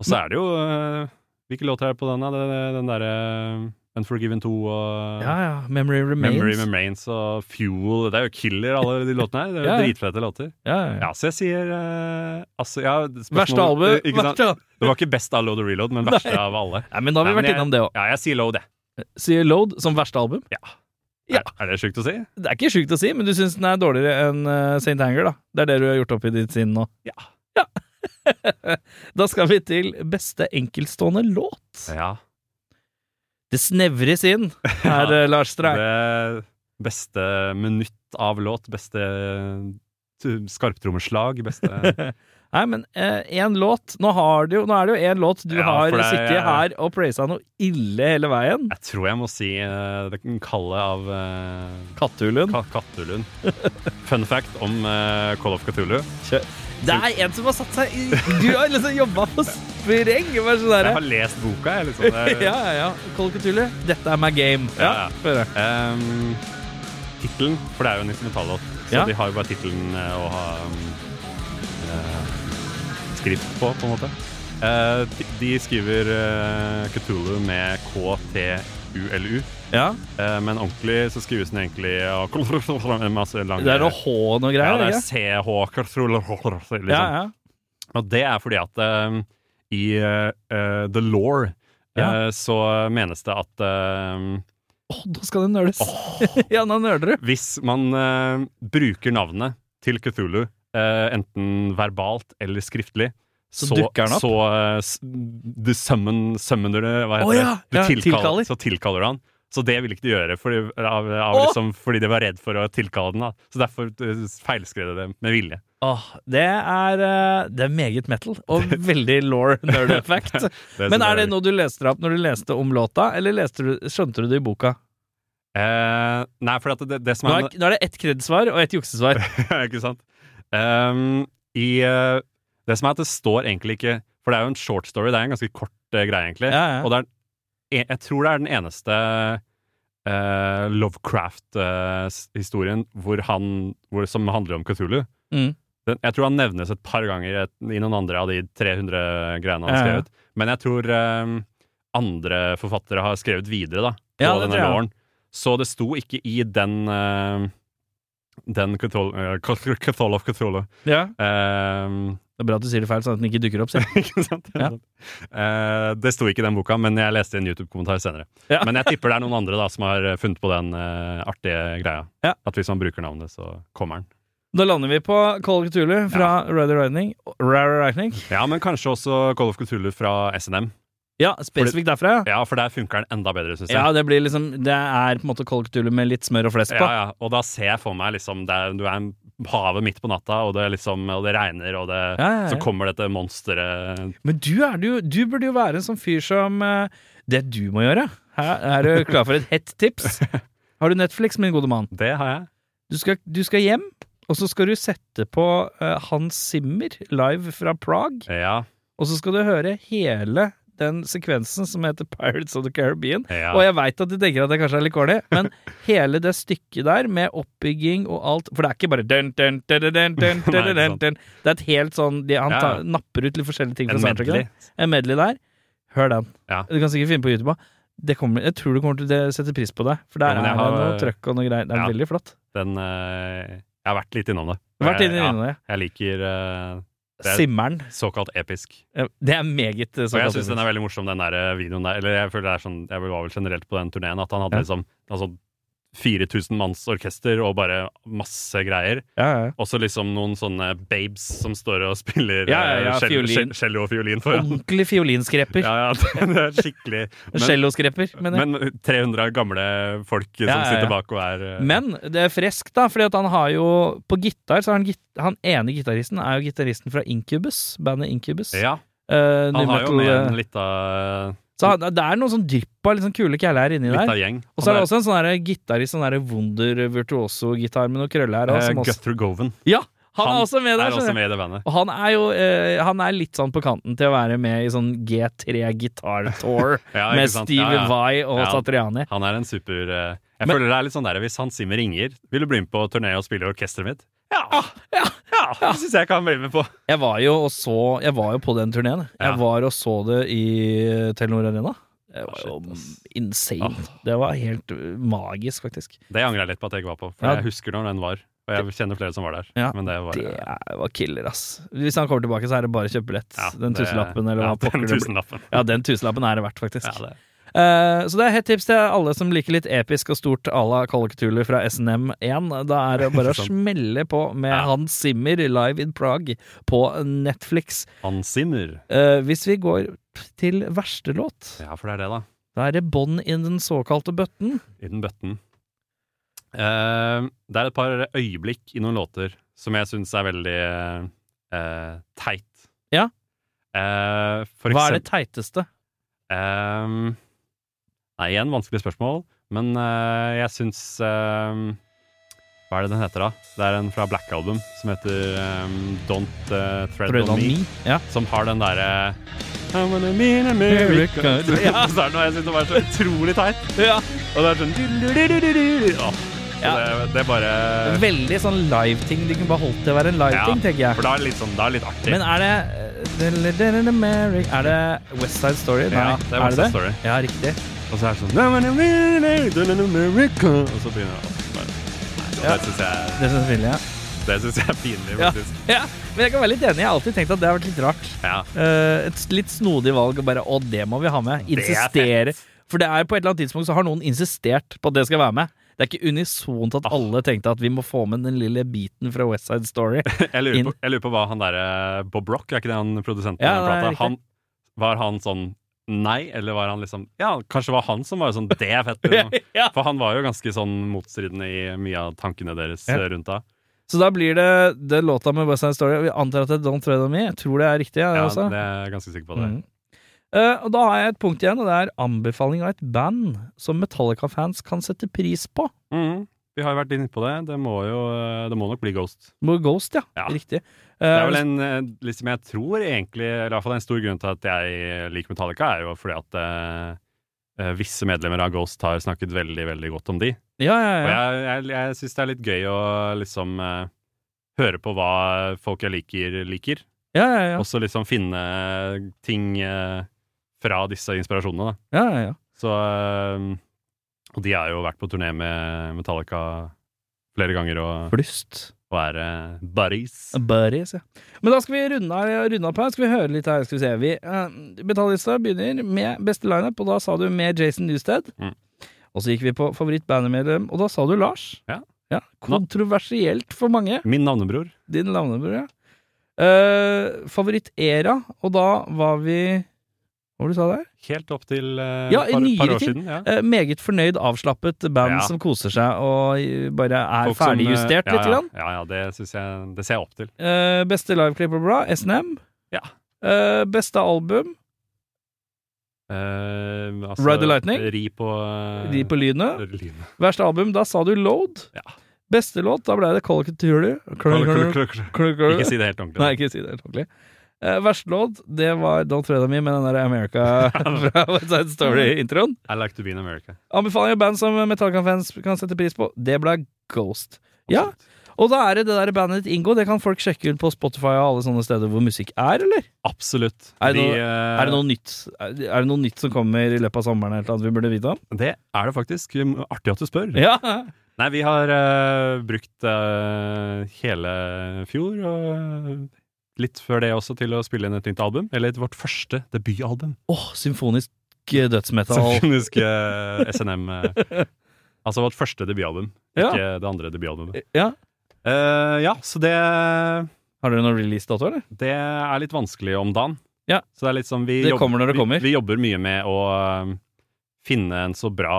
[SPEAKER 2] Og så er det jo eh, Hvilke låter er det på den, da? Den, den derre eh, Unforgiven 2 og
[SPEAKER 1] Ja, ja. Memory remains.
[SPEAKER 2] Memory Remains og Fuel. Det er jo killer, alle de låtene her. Det er jo
[SPEAKER 1] Ja, ja.
[SPEAKER 2] Dritfete låter.
[SPEAKER 1] Ja, ja.
[SPEAKER 2] Ja, så jeg sier eh, altså, ja, spørsmålet-
[SPEAKER 1] Verste album.
[SPEAKER 2] Ikke sant?
[SPEAKER 1] Verste. album.
[SPEAKER 2] Det var ikke best av Load og Reload, men verste
[SPEAKER 1] Nei.
[SPEAKER 2] av alle.
[SPEAKER 1] Nei, men da har vi
[SPEAKER 2] Nei,
[SPEAKER 1] vært
[SPEAKER 2] men jeg-
[SPEAKER 1] innom det òg.
[SPEAKER 2] Ja, jeg sier Load, jeg.
[SPEAKER 1] Sier load som verste album?
[SPEAKER 2] Ja.
[SPEAKER 1] Ja.
[SPEAKER 2] Er, er det sjukt å si?
[SPEAKER 1] Det er ikke sjukt å si, men du syns den er dårligere enn eh, St. Anger, da. Det er det du har gjort opp i ditt sinn nå.
[SPEAKER 2] Ja.
[SPEAKER 1] Da skal vi til beste enkeltstående låt.
[SPEAKER 2] Ja.
[SPEAKER 1] Det snevres inn her,
[SPEAKER 2] Ja,
[SPEAKER 1] eh, Lars Strei.
[SPEAKER 2] Det beste minutt av låt, beste t- eh, skarptrommeslag, beste
[SPEAKER 1] Her Nei, men én låt Nå, har du, jo- nå er det jo én låt du
[SPEAKER 2] Ja,
[SPEAKER 1] har
[SPEAKER 2] for det er-
[SPEAKER 1] sittet her og praisa noe ille hele veien.
[SPEAKER 2] Jeg tror jeg må si eh, den kalde av eh,
[SPEAKER 1] Katthulund.
[SPEAKER 2] Ka- Kattulund. Fun fact om eh, Call of Cthulhu.
[SPEAKER 1] Det er en som har satt seg i Du har liksom jobba på spreng! Bare sånn
[SPEAKER 2] Jeg
[SPEAKER 1] derre.
[SPEAKER 2] har lest boka, jeg, liksom.
[SPEAKER 1] Ja,
[SPEAKER 2] Det-
[SPEAKER 1] ja, ja. Kolkatulli, dette er my game.
[SPEAKER 2] Ja, ja.
[SPEAKER 1] Før det.
[SPEAKER 2] Ehm, Tittelen, for det er jo en instrumentallåt, så
[SPEAKER 1] Ja.
[SPEAKER 2] de har jo bare tittelen eh, å ha eh, skrift på, på en måte. Eh, de, de skriver eh, Cthulhu med K-T-U-L-U,
[SPEAKER 1] ja.
[SPEAKER 2] eh, men ordentlig så skrives den egentlig av en masse lange
[SPEAKER 1] Det er noe H og noe
[SPEAKER 2] Ja,
[SPEAKER 1] greier.
[SPEAKER 2] det er
[SPEAKER 1] ikke?
[SPEAKER 2] CH Cthulhu, liksom.
[SPEAKER 1] ja, ja.
[SPEAKER 2] Og det er fordi at eh, i eh, The Law
[SPEAKER 1] Ja.
[SPEAKER 2] så menes det at eh,
[SPEAKER 1] Å, nå skal det nøles. ja, nå nøler du.
[SPEAKER 2] Hvis man eh, bruker navnet til Cthulhu, eh, enten verbalt eller skriftlig,
[SPEAKER 1] Så dukker han opp?
[SPEAKER 2] Så eh, s- du summon, summoner det, hva heter
[SPEAKER 1] Å ja,
[SPEAKER 2] det? Du
[SPEAKER 1] ja, tilkaller.
[SPEAKER 2] Så tilkaller du han. Så det ville ikke du gjøre, fordi, av, av,
[SPEAKER 1] Å!
[SPEAKER 2] liksom, fordi de var redd for å tilkalle den. Da. Så derfor eh, feilskrev de det med vilje.
[SPEAKER 1] Åh, det er eh, Det er meget metal, og veldig law nerd fact.
[SPEAKER 2] Det
[SPEAKER 1] Men
[SPEAKER 2] som
[SPEAKER 1] er det noe du leste opp når du leste om låta, eller leste du, skjønte du det i boka?
[SPEAKER 2] Eh, nei, for at det, det som
[SPEAKER 1] Nå
[SPEAKER 2] er
[SPEAKER 1] er, nå er det ett kredsvar og ett juksesvar.
[SPEAKER 2] ikke sant? Ehm, I eh, Det som er at det står egentlig ikke For det er jo en short story, det er en ganske kort eh, greie, egentlig.
[SPEAKER 1] Ja, ja.
[SPEAKER 2] Og det er, jeg, jeg tror det er den eneste eh, Lovecraft-historien eh, hvor han, hvor, som handler om Cthulhu.
[SPEAKER 1] Mm.
[SPEAKER 2] Den, jeg tror han nevnes et par ganger i et, i noen andre av de 300 greiene han har
[SPEAKER 1] Ja, ja.
[SPEAKER 2] skrevet. Men jeg tror ehm, andre forfattere har skrevet videre da, på
[SPEAKER 1] Ja, det
[SPEAKER 2] denne
[SPEAKER 1] tror jeg.
[SPEAKER 2] låren. Så det sto ikke i den ehm, den Cthul- eh, Cthul- Cthulhu of Cthulhu.
[SPEAKER 1] Ja.
[SPEAKER 2] Ehm,
[SPEAKER 1] Det er bra at du sier det feil, sånn at den ikke dukker opp. sier jeg.
[SPEAKER 2] ikke sant?
[SPEAKER 1] Ja.
[SPEAKER 2] Eh, det sto ikke i den boka, men jeg leste en YouTube-kommentar senere.
[SPEAKER 1] Ja.
[SPEAKER 2] Men jeg tipper det er noen andre da, som har funnet på den eh, artige greia.
[SPEAKER 1] Ja.
[SPEAKER 2] At hvis man bruker navnet, så kommer den.
[SPEAKER 1] Da lander vi på Call of Cthulhu fra Rider Lightning. Rare Lightning.
[SPEAKER 2] Ja, men kanskje også Call of Cthulhu fra SNM.
[SPEAKER 1] Ja, spesifikt derfra, ja.
[SPEAKER 2] Ja, for der funker den enda bedre, syns jeg.
[SPEAKER 1] Ja, det blir liksom Det er på en måte Call of Cthulhu med litt smør og flesk på.
[SPEAKER 2] Ja, ja. Og da ser jeg for meg liksom det er, Du er en havet midt på natta, og det, er liksom, og det regner, og det,
[SPEAKER 1] Ja, ja, ja.
[SPEAKER 2] så kommer dette monsteret
[SPEAKER 1] Men du, er det jo, du burde jo være en sånn fyr som eh, Det du må gjøre Her er du klar for et hett tips. Har du Netflix, min gode mann?
[SPEAKER 2] Det har jeg.
[SPEAKER 1] Du skal, du skal hjem, og så skal du sette på eh, Hans Zimmer live fra Prague.
[SPEAKER 2] Ja.
[SPEAKER 1] Og så skal du høre hele den sekvensen som heter Pirates of the Caribbean.
[SPEAKER 2] ja.
[SPEAKER 1] Og jeg veit at du tenker at det kanskje er litt corny, men hele det stykket der med oppbygging og alt For det er ikke bare dun, dun, dun, dun, dun, dun,
[SPEAKER 2] Nei,
[SPEAKER 1] dun,
[SPEAKER 2] ikke
[SPEAKER 1] dun,
[SPEAKER 2] sant.
[SPEAKER 1] dun. Det er et helt sånn de, Han
[SPEAKER 2] Ja,
[SPEAKER 1] tar,
[SPEAKER 2] ja.
[SPEAKER 1] napper ut litt forskjellige ting fra
[SPEAKER 2] en medley.
[SPEAKER 1] soundtracket. En medley der. Hør den.
[SPEAKER 2] Ja.
[SPEAKER 1] Du kan sikkert finne på YouTube. også. Det kommer, jeg tror du kommer til å sette pris på det, for
[SPEAKER 2] Ja,
[SPEAKER 1] der
[SPEAKER 2] men jeg
[SPEAKER 1] er
[SPEAKER 2] har-
[SPEAKER 1] det noe trøkk og noe greier. Det er
[SPEAKER 2] Ja.
[SPEAKER 1] veldig flott.
[SPEAKER 2] Den eh, Jeg har vært litt innom det.
[SPEAKER 1] Vært
[SPEAKER 2] Jeg-
[SPEAKER 1] inne
[SPEAKER 2] ja,
[SPEAKER 1] i det.
[SPEAKER 2] Jeg liker eh, det er-
[SPEAKER 1] Simmeren.
[SPEAKER 2] såkalt episk.
[SPEAKER 1] Ja, Det er meget eh,
[SPEAKER 2] Og jeg
[SPEAKER 1] såkalt.
[SPEAKER 2] syns den er veldig morsom, den der eh, videoen der. Eller jeg føler det er sånn Jeg var vel generelt på den turneen at han
[SPEAKER 1] Ja.
[SPEAKER 2] hadde liksom altså, 4000 manns orkester og bare masse greier.
[SPEAKER 1] Ja, ja, ja.
[SPEAKER 2] Og så liksom noen sånne babes som står og spiller
[SPEAKER 1] Ja, ja, ja,
[SPEAKER 2] eh, cello-
[SPEAKER 1] fiolin.
[SPEAKER 2] cel- cello og fiolin foran.
[SPEAKER 1] Ordentlig fiolinskreper.
[SPEAKER 2] Ja, ja, det det er skikkelig men,
[SPEAKER 1] Celloskreper, mener jeg.
[SPEAKER 2] men 300 gamle folk som
[SPEAKER 1] Ja, ja, ja.
[SPEAKER 2] sitter bak og er eh,
[SPEAKER 1] Men det er freskt, da, fordi at han har jo På gitar så har han git Han ene gitaristen er jo gitaristen fra Incubus, bandet Incubus.
[SPEAKER 2] Ja.
[SPEAKER 1] Eh,
[SPEAKER 2] Han
[SPEAKER 1] nu
[SPEAKER 2] har jo
[SPEAKER 1] metal,
[SPEAKER 2] med en
[SPEAKER 1] eh,
[SPEAKER 2] lita,
[SPEAKER 1] Så han, det er noen sånn drypp av litt sånn kule kjæler her inni
[SPEAKER 2] lita
[SPEAKER 1] der.
[SPEAKER 2] gjeng.
[SPEAKER 1] Og så er det
[SPEAKER 2] Han
[SPEAKER 1] også en sånn der gitarist, sånn der wonder virtuoso-gitar med noe krølle her.
[SPEAKER 2] eh,
[SPEAKER 1] også, som også,
[SPEAKER 2] Guthrie Govan
[SPEAKER 1] ja, han,
[SPEAKER 2] han
[SPEAKER 1] er også med der.
[SPEAKER 2] er også
[SPEAKER 1] skjønner du.
[SPEAKER 2] med i det bandet.
[SPEAKER 1] Og han er jo eh, Han er litt sånn på kanten til å være med i sånn G3 Guitar Tour
[SPEAKER 2] Ja, ikke
[SPEAKER 1] med
[SPEAKER 2] sant?
[SPEAKER 1] Stevie
[SPEAKER 2] Ja, ja.
[SPEAKER 1] Vai og
[SPEAKER 2] Ja.
[SPEAKER 1] Satriani.
[SPEAKER 2] Han er en super eh, Jeg
[SPEAKER 1] Men-
[SPEAKER 2] føler det er litt sånn der Hvis Hans Zimmer ringer, vil du bli med på turné og spille i orkesteret mitt? Ja!
[SPEAKER 1] Ah, ja,
[SPEAKER 2] Det syns jeg kan bli med på.
[SPEAKER 1] Jeg var jo og så Jeg var jo på den turneen. Jeg
[SPEAKER 2] Ja.
[SPEAKER 1] var og så det i Telenor Arena. Det var jo
[SPEAKER 2] Shit, ass.
[SPEAKER 1] insane.
[SPEAKER 2] Ah.
[SPEAKER 1] Det var helt ø, magisk, faktisk.
[SPEAKER 2] Det angrer jeg litt på at jeg ikke var på, for
[SPEAKER 1] Ja.
[SPEAKER 2] jeg husker når den var. Og jeg kjenner flere som var der.
[SPEAKER 1] Ja,
[SPEAKER 2] men det var
[SPEAKER 1] Det er- var killer, ass. Hvis han kommer tilbake, så er det bare å kjøpe billett.
[SPEAKER 2] ja,
[SPEAKER 1] den
[SPEAKER 2] det-
[SPEAKER 1] tusenlappen, eller
[SPEAKER 2] ja,
[SPEAKER 1] hva pokker
[SPEAKER 2] den
[SPEAKER 1] det blir.
[SPEAKER 2] tusenlappen.
[SPEAKER 1] Ja, den tusenlappen er det verdt, faktisk.
[SPEAKER 2] Ja, det.
[SPEAKER 1] Eh, så det er hett tips til alle som liker litt episk og stort à la Kollektulu fra SNM1. Da er det bare å
[SPEAKER 2] Sant.
[SPEAKER 1] smelle på med
[SPEAKER 2] Ja.
[SPEAKER 1] Hans Zimmer live in Prague på Netflix.
[SPEAKER 2] Hans Zimmer.
[SPEAKER 1] Eh, hvis vi går til verste låt
[SPEAKER 2] Ja, for det er det, da.
[SPEAKER 1] Da er det bånd i den såkalte bøtten.
[SPEAKER 2] I den bøtten. Eh, det er et par øyeblikk i noen låter som jeg syns er veldig eh, teit.
[SPEAKER 1] Ja.
[SPEAKER 2] Eh, for
[SPEAKER 1] Hva er
[SPEAKER 2] eksempel
[SPEAKER 1] det teiteste?
[SPEAKER 2] Ehm, nei, igjen vanskelig spørsmål, men eh, jeg syns ehm, Hva er det den heter, da? Det er en fra Black Album som heter ehm, Don't eh, Tread,
[SPEAKER 1] Prøvde
[SPEAKER 2] on,
[SPEAKER 1] han
[SPEAKER 2] me,
[SPEAKER 1] ni? Ja.
[SPEAKER 2] Som har den derre I wanna be in America. Ja, så er det noe jeg syns det var så utrolig teit.
[SPEAKER 1] ja.
[SPEAKER 2] Og det er sånn du-du-du-du-du-du. Åh, så
[SPEAKER 1] Ja.
[SPEAKER 2] det, det er bare
[SPEAKER 1] Veldig sånn live-ting. De kunne bare holdt til å være en live-ting, tenker jeg.
[SPEAKER 2] For da er det litt sånn, da er det litt artig.
[SPEAKER 1] Men er det Er det West Side Story? Nei,
[SPEAKER 2] Ja, det er West Side Story.
[SPEAKER 1] Ja, riktig.
[SPEAKER 2] og så er det sånn I wanna be in America. Og så begynner det å bare- Nei,
[SPEAKER 1] Ja.
[SPEAKER 2] Det syns jeg
[SPEAKER 1] Det synes jeg, ja.
[SPEAKER 2] Det syns jeg er
[SPEAKER 1] Ja.
[SPEAKER 2] pinlig, faktisk.
[SPEAKER 1] ja. Men jeg kan være litt enig. Jeg har alltid tenkt at det har vært litt rart.
[SPEAKER 2] Ja.
[SPEAKER 1] Eh, et litt snodig valg å bare Å, det må vi ha med.
[SPEAKER 2] Det er
[SPEAKER 1] Insistere. For det er på et eller annet tidspunkt så har noen insistert på at det skal være med. Det er ikke unisont
[SPEAKER 2] Ah.
[SPEAKER 1] at alle tenkte at vi må få med den lille biten fra West Side Story.
[SPEAKER 2] Jeg, lurer
[SPEAKER 1] Inn.
[SPEAKER 2] på, jeg lurer på hva han derre Bob Rock, er ikke det han produsenten
[SPEAKER 1] Ja,
[SPEAKER 2] av
[SPEAKER 1] det er
[SPEAKER 2] plata?
[SPEAKER 1] riktig.
[SPEAKER 2] Han, var han sånn nei, eller var han liksom Ja, kanskje var han som var sånn Det er fett!
[SPEAKER 1] Ja,
[SPEAKER 2] Liksom.
[SPEAKER 1] ja.
[SPEAKER 2] For han var jo ganske sånn motstridende i mye av tankene deres
[SPEAKER 1] Ja.
[SPEAKER 2] eh, rundt da.
[SPEAKER 1] Så da blir det, det låta med West Side Story. Vi antar at det er Don't Tread On Me. Jeg tror det er riktig. Jeg,
[SPEAKER 2] Ja,
[SPEAKER 1] også.
[SPEAKER 2] det er jeg ganske sikker på. det
[SPEAKER 1] Mm. Eh, og da har jeg et punkt igjen, og det er anbefaling av et band som Metallica-fans kan sette pris på.
[SPEAKER 2] Mhm. Vi har jo vært inne på det. Det må jo eh, Det må nok bli Ghost.
[SPEAKER 1] Må Ghost, ja.
[SPEAKER 2] Ja.
[SPEAKER 1] Riktig.
[SPEAKER 2] Det
[SPEAKER 1] Eh,
[SPEAKER 2] er vel en eh, liksom jeg tror egentlig Eller i hvert fall en stor grunn til at jeg liker Metallica, er jo fordi at eh, eh, visse medlemmer av Ghost har snakket veldig, veldig godt om de.
[SPEAKER 1] ja, ja,
[SPEAKER 2] Og
[SPEAKER 1] ja.
[SPEAKER 2] jeg, jeg, jeg syns det er litt gøy å liksom eh, høre på hva folk jeg liker, liker.
[SPEAKER 1] Ja, ja, ja.
[SPEAKER 2] Også liksom finne ting eh, fra disse inspirasjonene, da.
[SPEAKER 1] ja, ja, ja.
[SPEAKER 2] Så eh, Og de har jo vært på turné med Metallica flere ganger og,
[SPEAKER 1] Flust.
[SPEAKER 2] og er eh, buddies.
[SPEAKER 1] Buddies, ja. Men da skal vi runde av- runde opp her. Skal vi høre litt her, skal vi se. Vi, eh, Metallica begynner med beste lineup, og da sa du med Jason Newsted.
[SPEAKER 2] Mm.
[SPEAKER 1] Og så gikk vi på favoritt-bandmedlem, og da sa du Lars.
[SPEAKER 2] Ja.
[SPEAKER 1] Kontroversielt for mange.
[SPEAKER 2] Min navnebror.
[SPEAKER 1] Din navnebror, ja. Eh, Favoritt-era, og da var vi Hva var det du sa der?
[SPEAKER 2] Helt opp til eh,
[SPEAKER 1] Ja, i
[SPEAKER 2] par, par
[SPEAKER 1] nyere
[SPEAKER 2] år
[SPEAKER 1] tid.
[SPEAKER 2] siden. Ja.
[SPEAKER 1] Eh, meget fornøyd, avslappet band
[SPEAKER 2] Ja.
[SPEAKER 1] som koser seg og eh, bare er
[SPEAKER 2] Folk som, eh,
[SPEAKER 1] ferdigjustert
[SPEAKER 2] ja,
[SPEAKER 1] litt.
[SPEAKER 2] Ja,
[SPEAKER 1] Grann.
[SPEAKER 2] ja, ja det, synes jeg, det ser jeg opp til.
[SPEAKER 1] Eh, beste liveklipp og bra, SNM.
[SPEAKER 2] Ja.
[SPEAKER 1] Eh, beste album,
[SPEAKER 2] Eh, altså,
[SPEAKER 1] Ride the Lightning?
[SPEAKER 2] Ri på eh,
[SPEAKER 1] De på lynet.
[SPEAKER 2] lynet.
[SPEAKER 1] Verste album, da sa du Load.
[SPEAKER 2] Ja.
[SPEAKER 1] Beste låt, da ble det Call of Cthulhu. Call of Cthulhu. Call of Cthulhu.
[SPEAKER 2] Ikke si det helt ordentlig.
[SPEAKER 1] Nei, ikke si det helt ordentlig. Eh, verste låt, det var Don't Tread On Me med den der America fra West Side Story-introen.
[SPEAKER 2] I like to be in America.
[SPEAKER 1] Anbefaling av band som Metallica-fans kan sette pris på, det ble Ghost. Ja, og da er det det der bandet ditt Ingo, det kan folk sjekke ut på Spotify og alle sånne steder hvor musikk er, eller?
[SPEAKER 2] Absolutt.
[SPEAKER 1] Er det
[SPEAKER 2] De,
[SPEAKER 1] noe-
[SPEAKER 2] eh,
[SPEAKER 1] Er det noe nytt, er det noe nytt som kommer i løpet av sommeren eller noe vi burde vite om?
[SPEAKER 2] det er det faktisk. Um, Artig at du spør.
[SPEAKER 1] Ja,
[SPEAKER 2] Nei, vi har eh, brukt eh, hele fjor og litt før det også til å spille inn et nytt album. Eller vårt første debutalbum.
[SPEAKER 1] Åh, symfonisk eh, dødsmetal.
[SPEAKER 2] Symfonisk eh, SNM. eh. altså vårt første debutalbum,
[SPEAKER 1] Ja.
[SPEAKER 2] ikke det andre debutalbumet.
[SPEAKER 1] Ja.
[SPEAKER 2] Eh, ja, så det,
[SPEAKER 1] Har dere noen release-dato, eller?
[SPEAKER 2] det er litt vanskelig om dagen.
[SPEAKER 1] Ja.
[SPEAKER 2] Så det er litt sånn vi
[SPEAKER 1] Det
[SPEAKER 2] jobber-
[SPEAKER 1] kommer når det kommer.
[SPEAKER 2] Vi, vi jobber mye med å eh, finne en så bra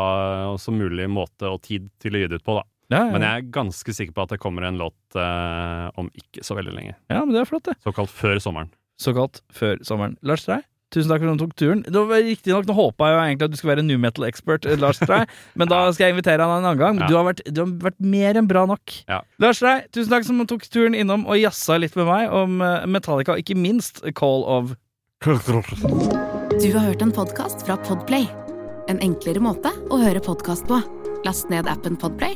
[SPEAKER 2] og så mulig måte og tid til å gi det ut på, da.
[SPEAKER 1] Ja,
[SPEAKER 2] Men jeg er ganske sikker på at det kommer en låt eh, om ikke så veldig lenge.
[SPEAKER 1] ja, men det er flott, det.
[SPEAKER 2] Såkalt før sommeren.
[SPEAKER 1] Såkalt før sommeren. Lars Strei, tusen takk for at du tok turen. Det var riktig nok, Nå håpa jeg jo egentlig at du skulle være new metal-expert, eh, Lars Strei, men da skal jeg invitere han en annen gang. Men
[SPEAKER 2] Ja.
[SPEAKER 1] Du, har vært, du har vært mer enn bra nok.
[SPEAKER 2] Ja.
[SPEAKER 1] Lars Strei, tusen takk som tok turen innom og jazza litt med meg om eh, Metallica, og ikke minst Call of
[SPEAKER 3] Du har hørt en podcast fra Podplay. En enklere måte å høre podcast på. Last ned appen Podplay,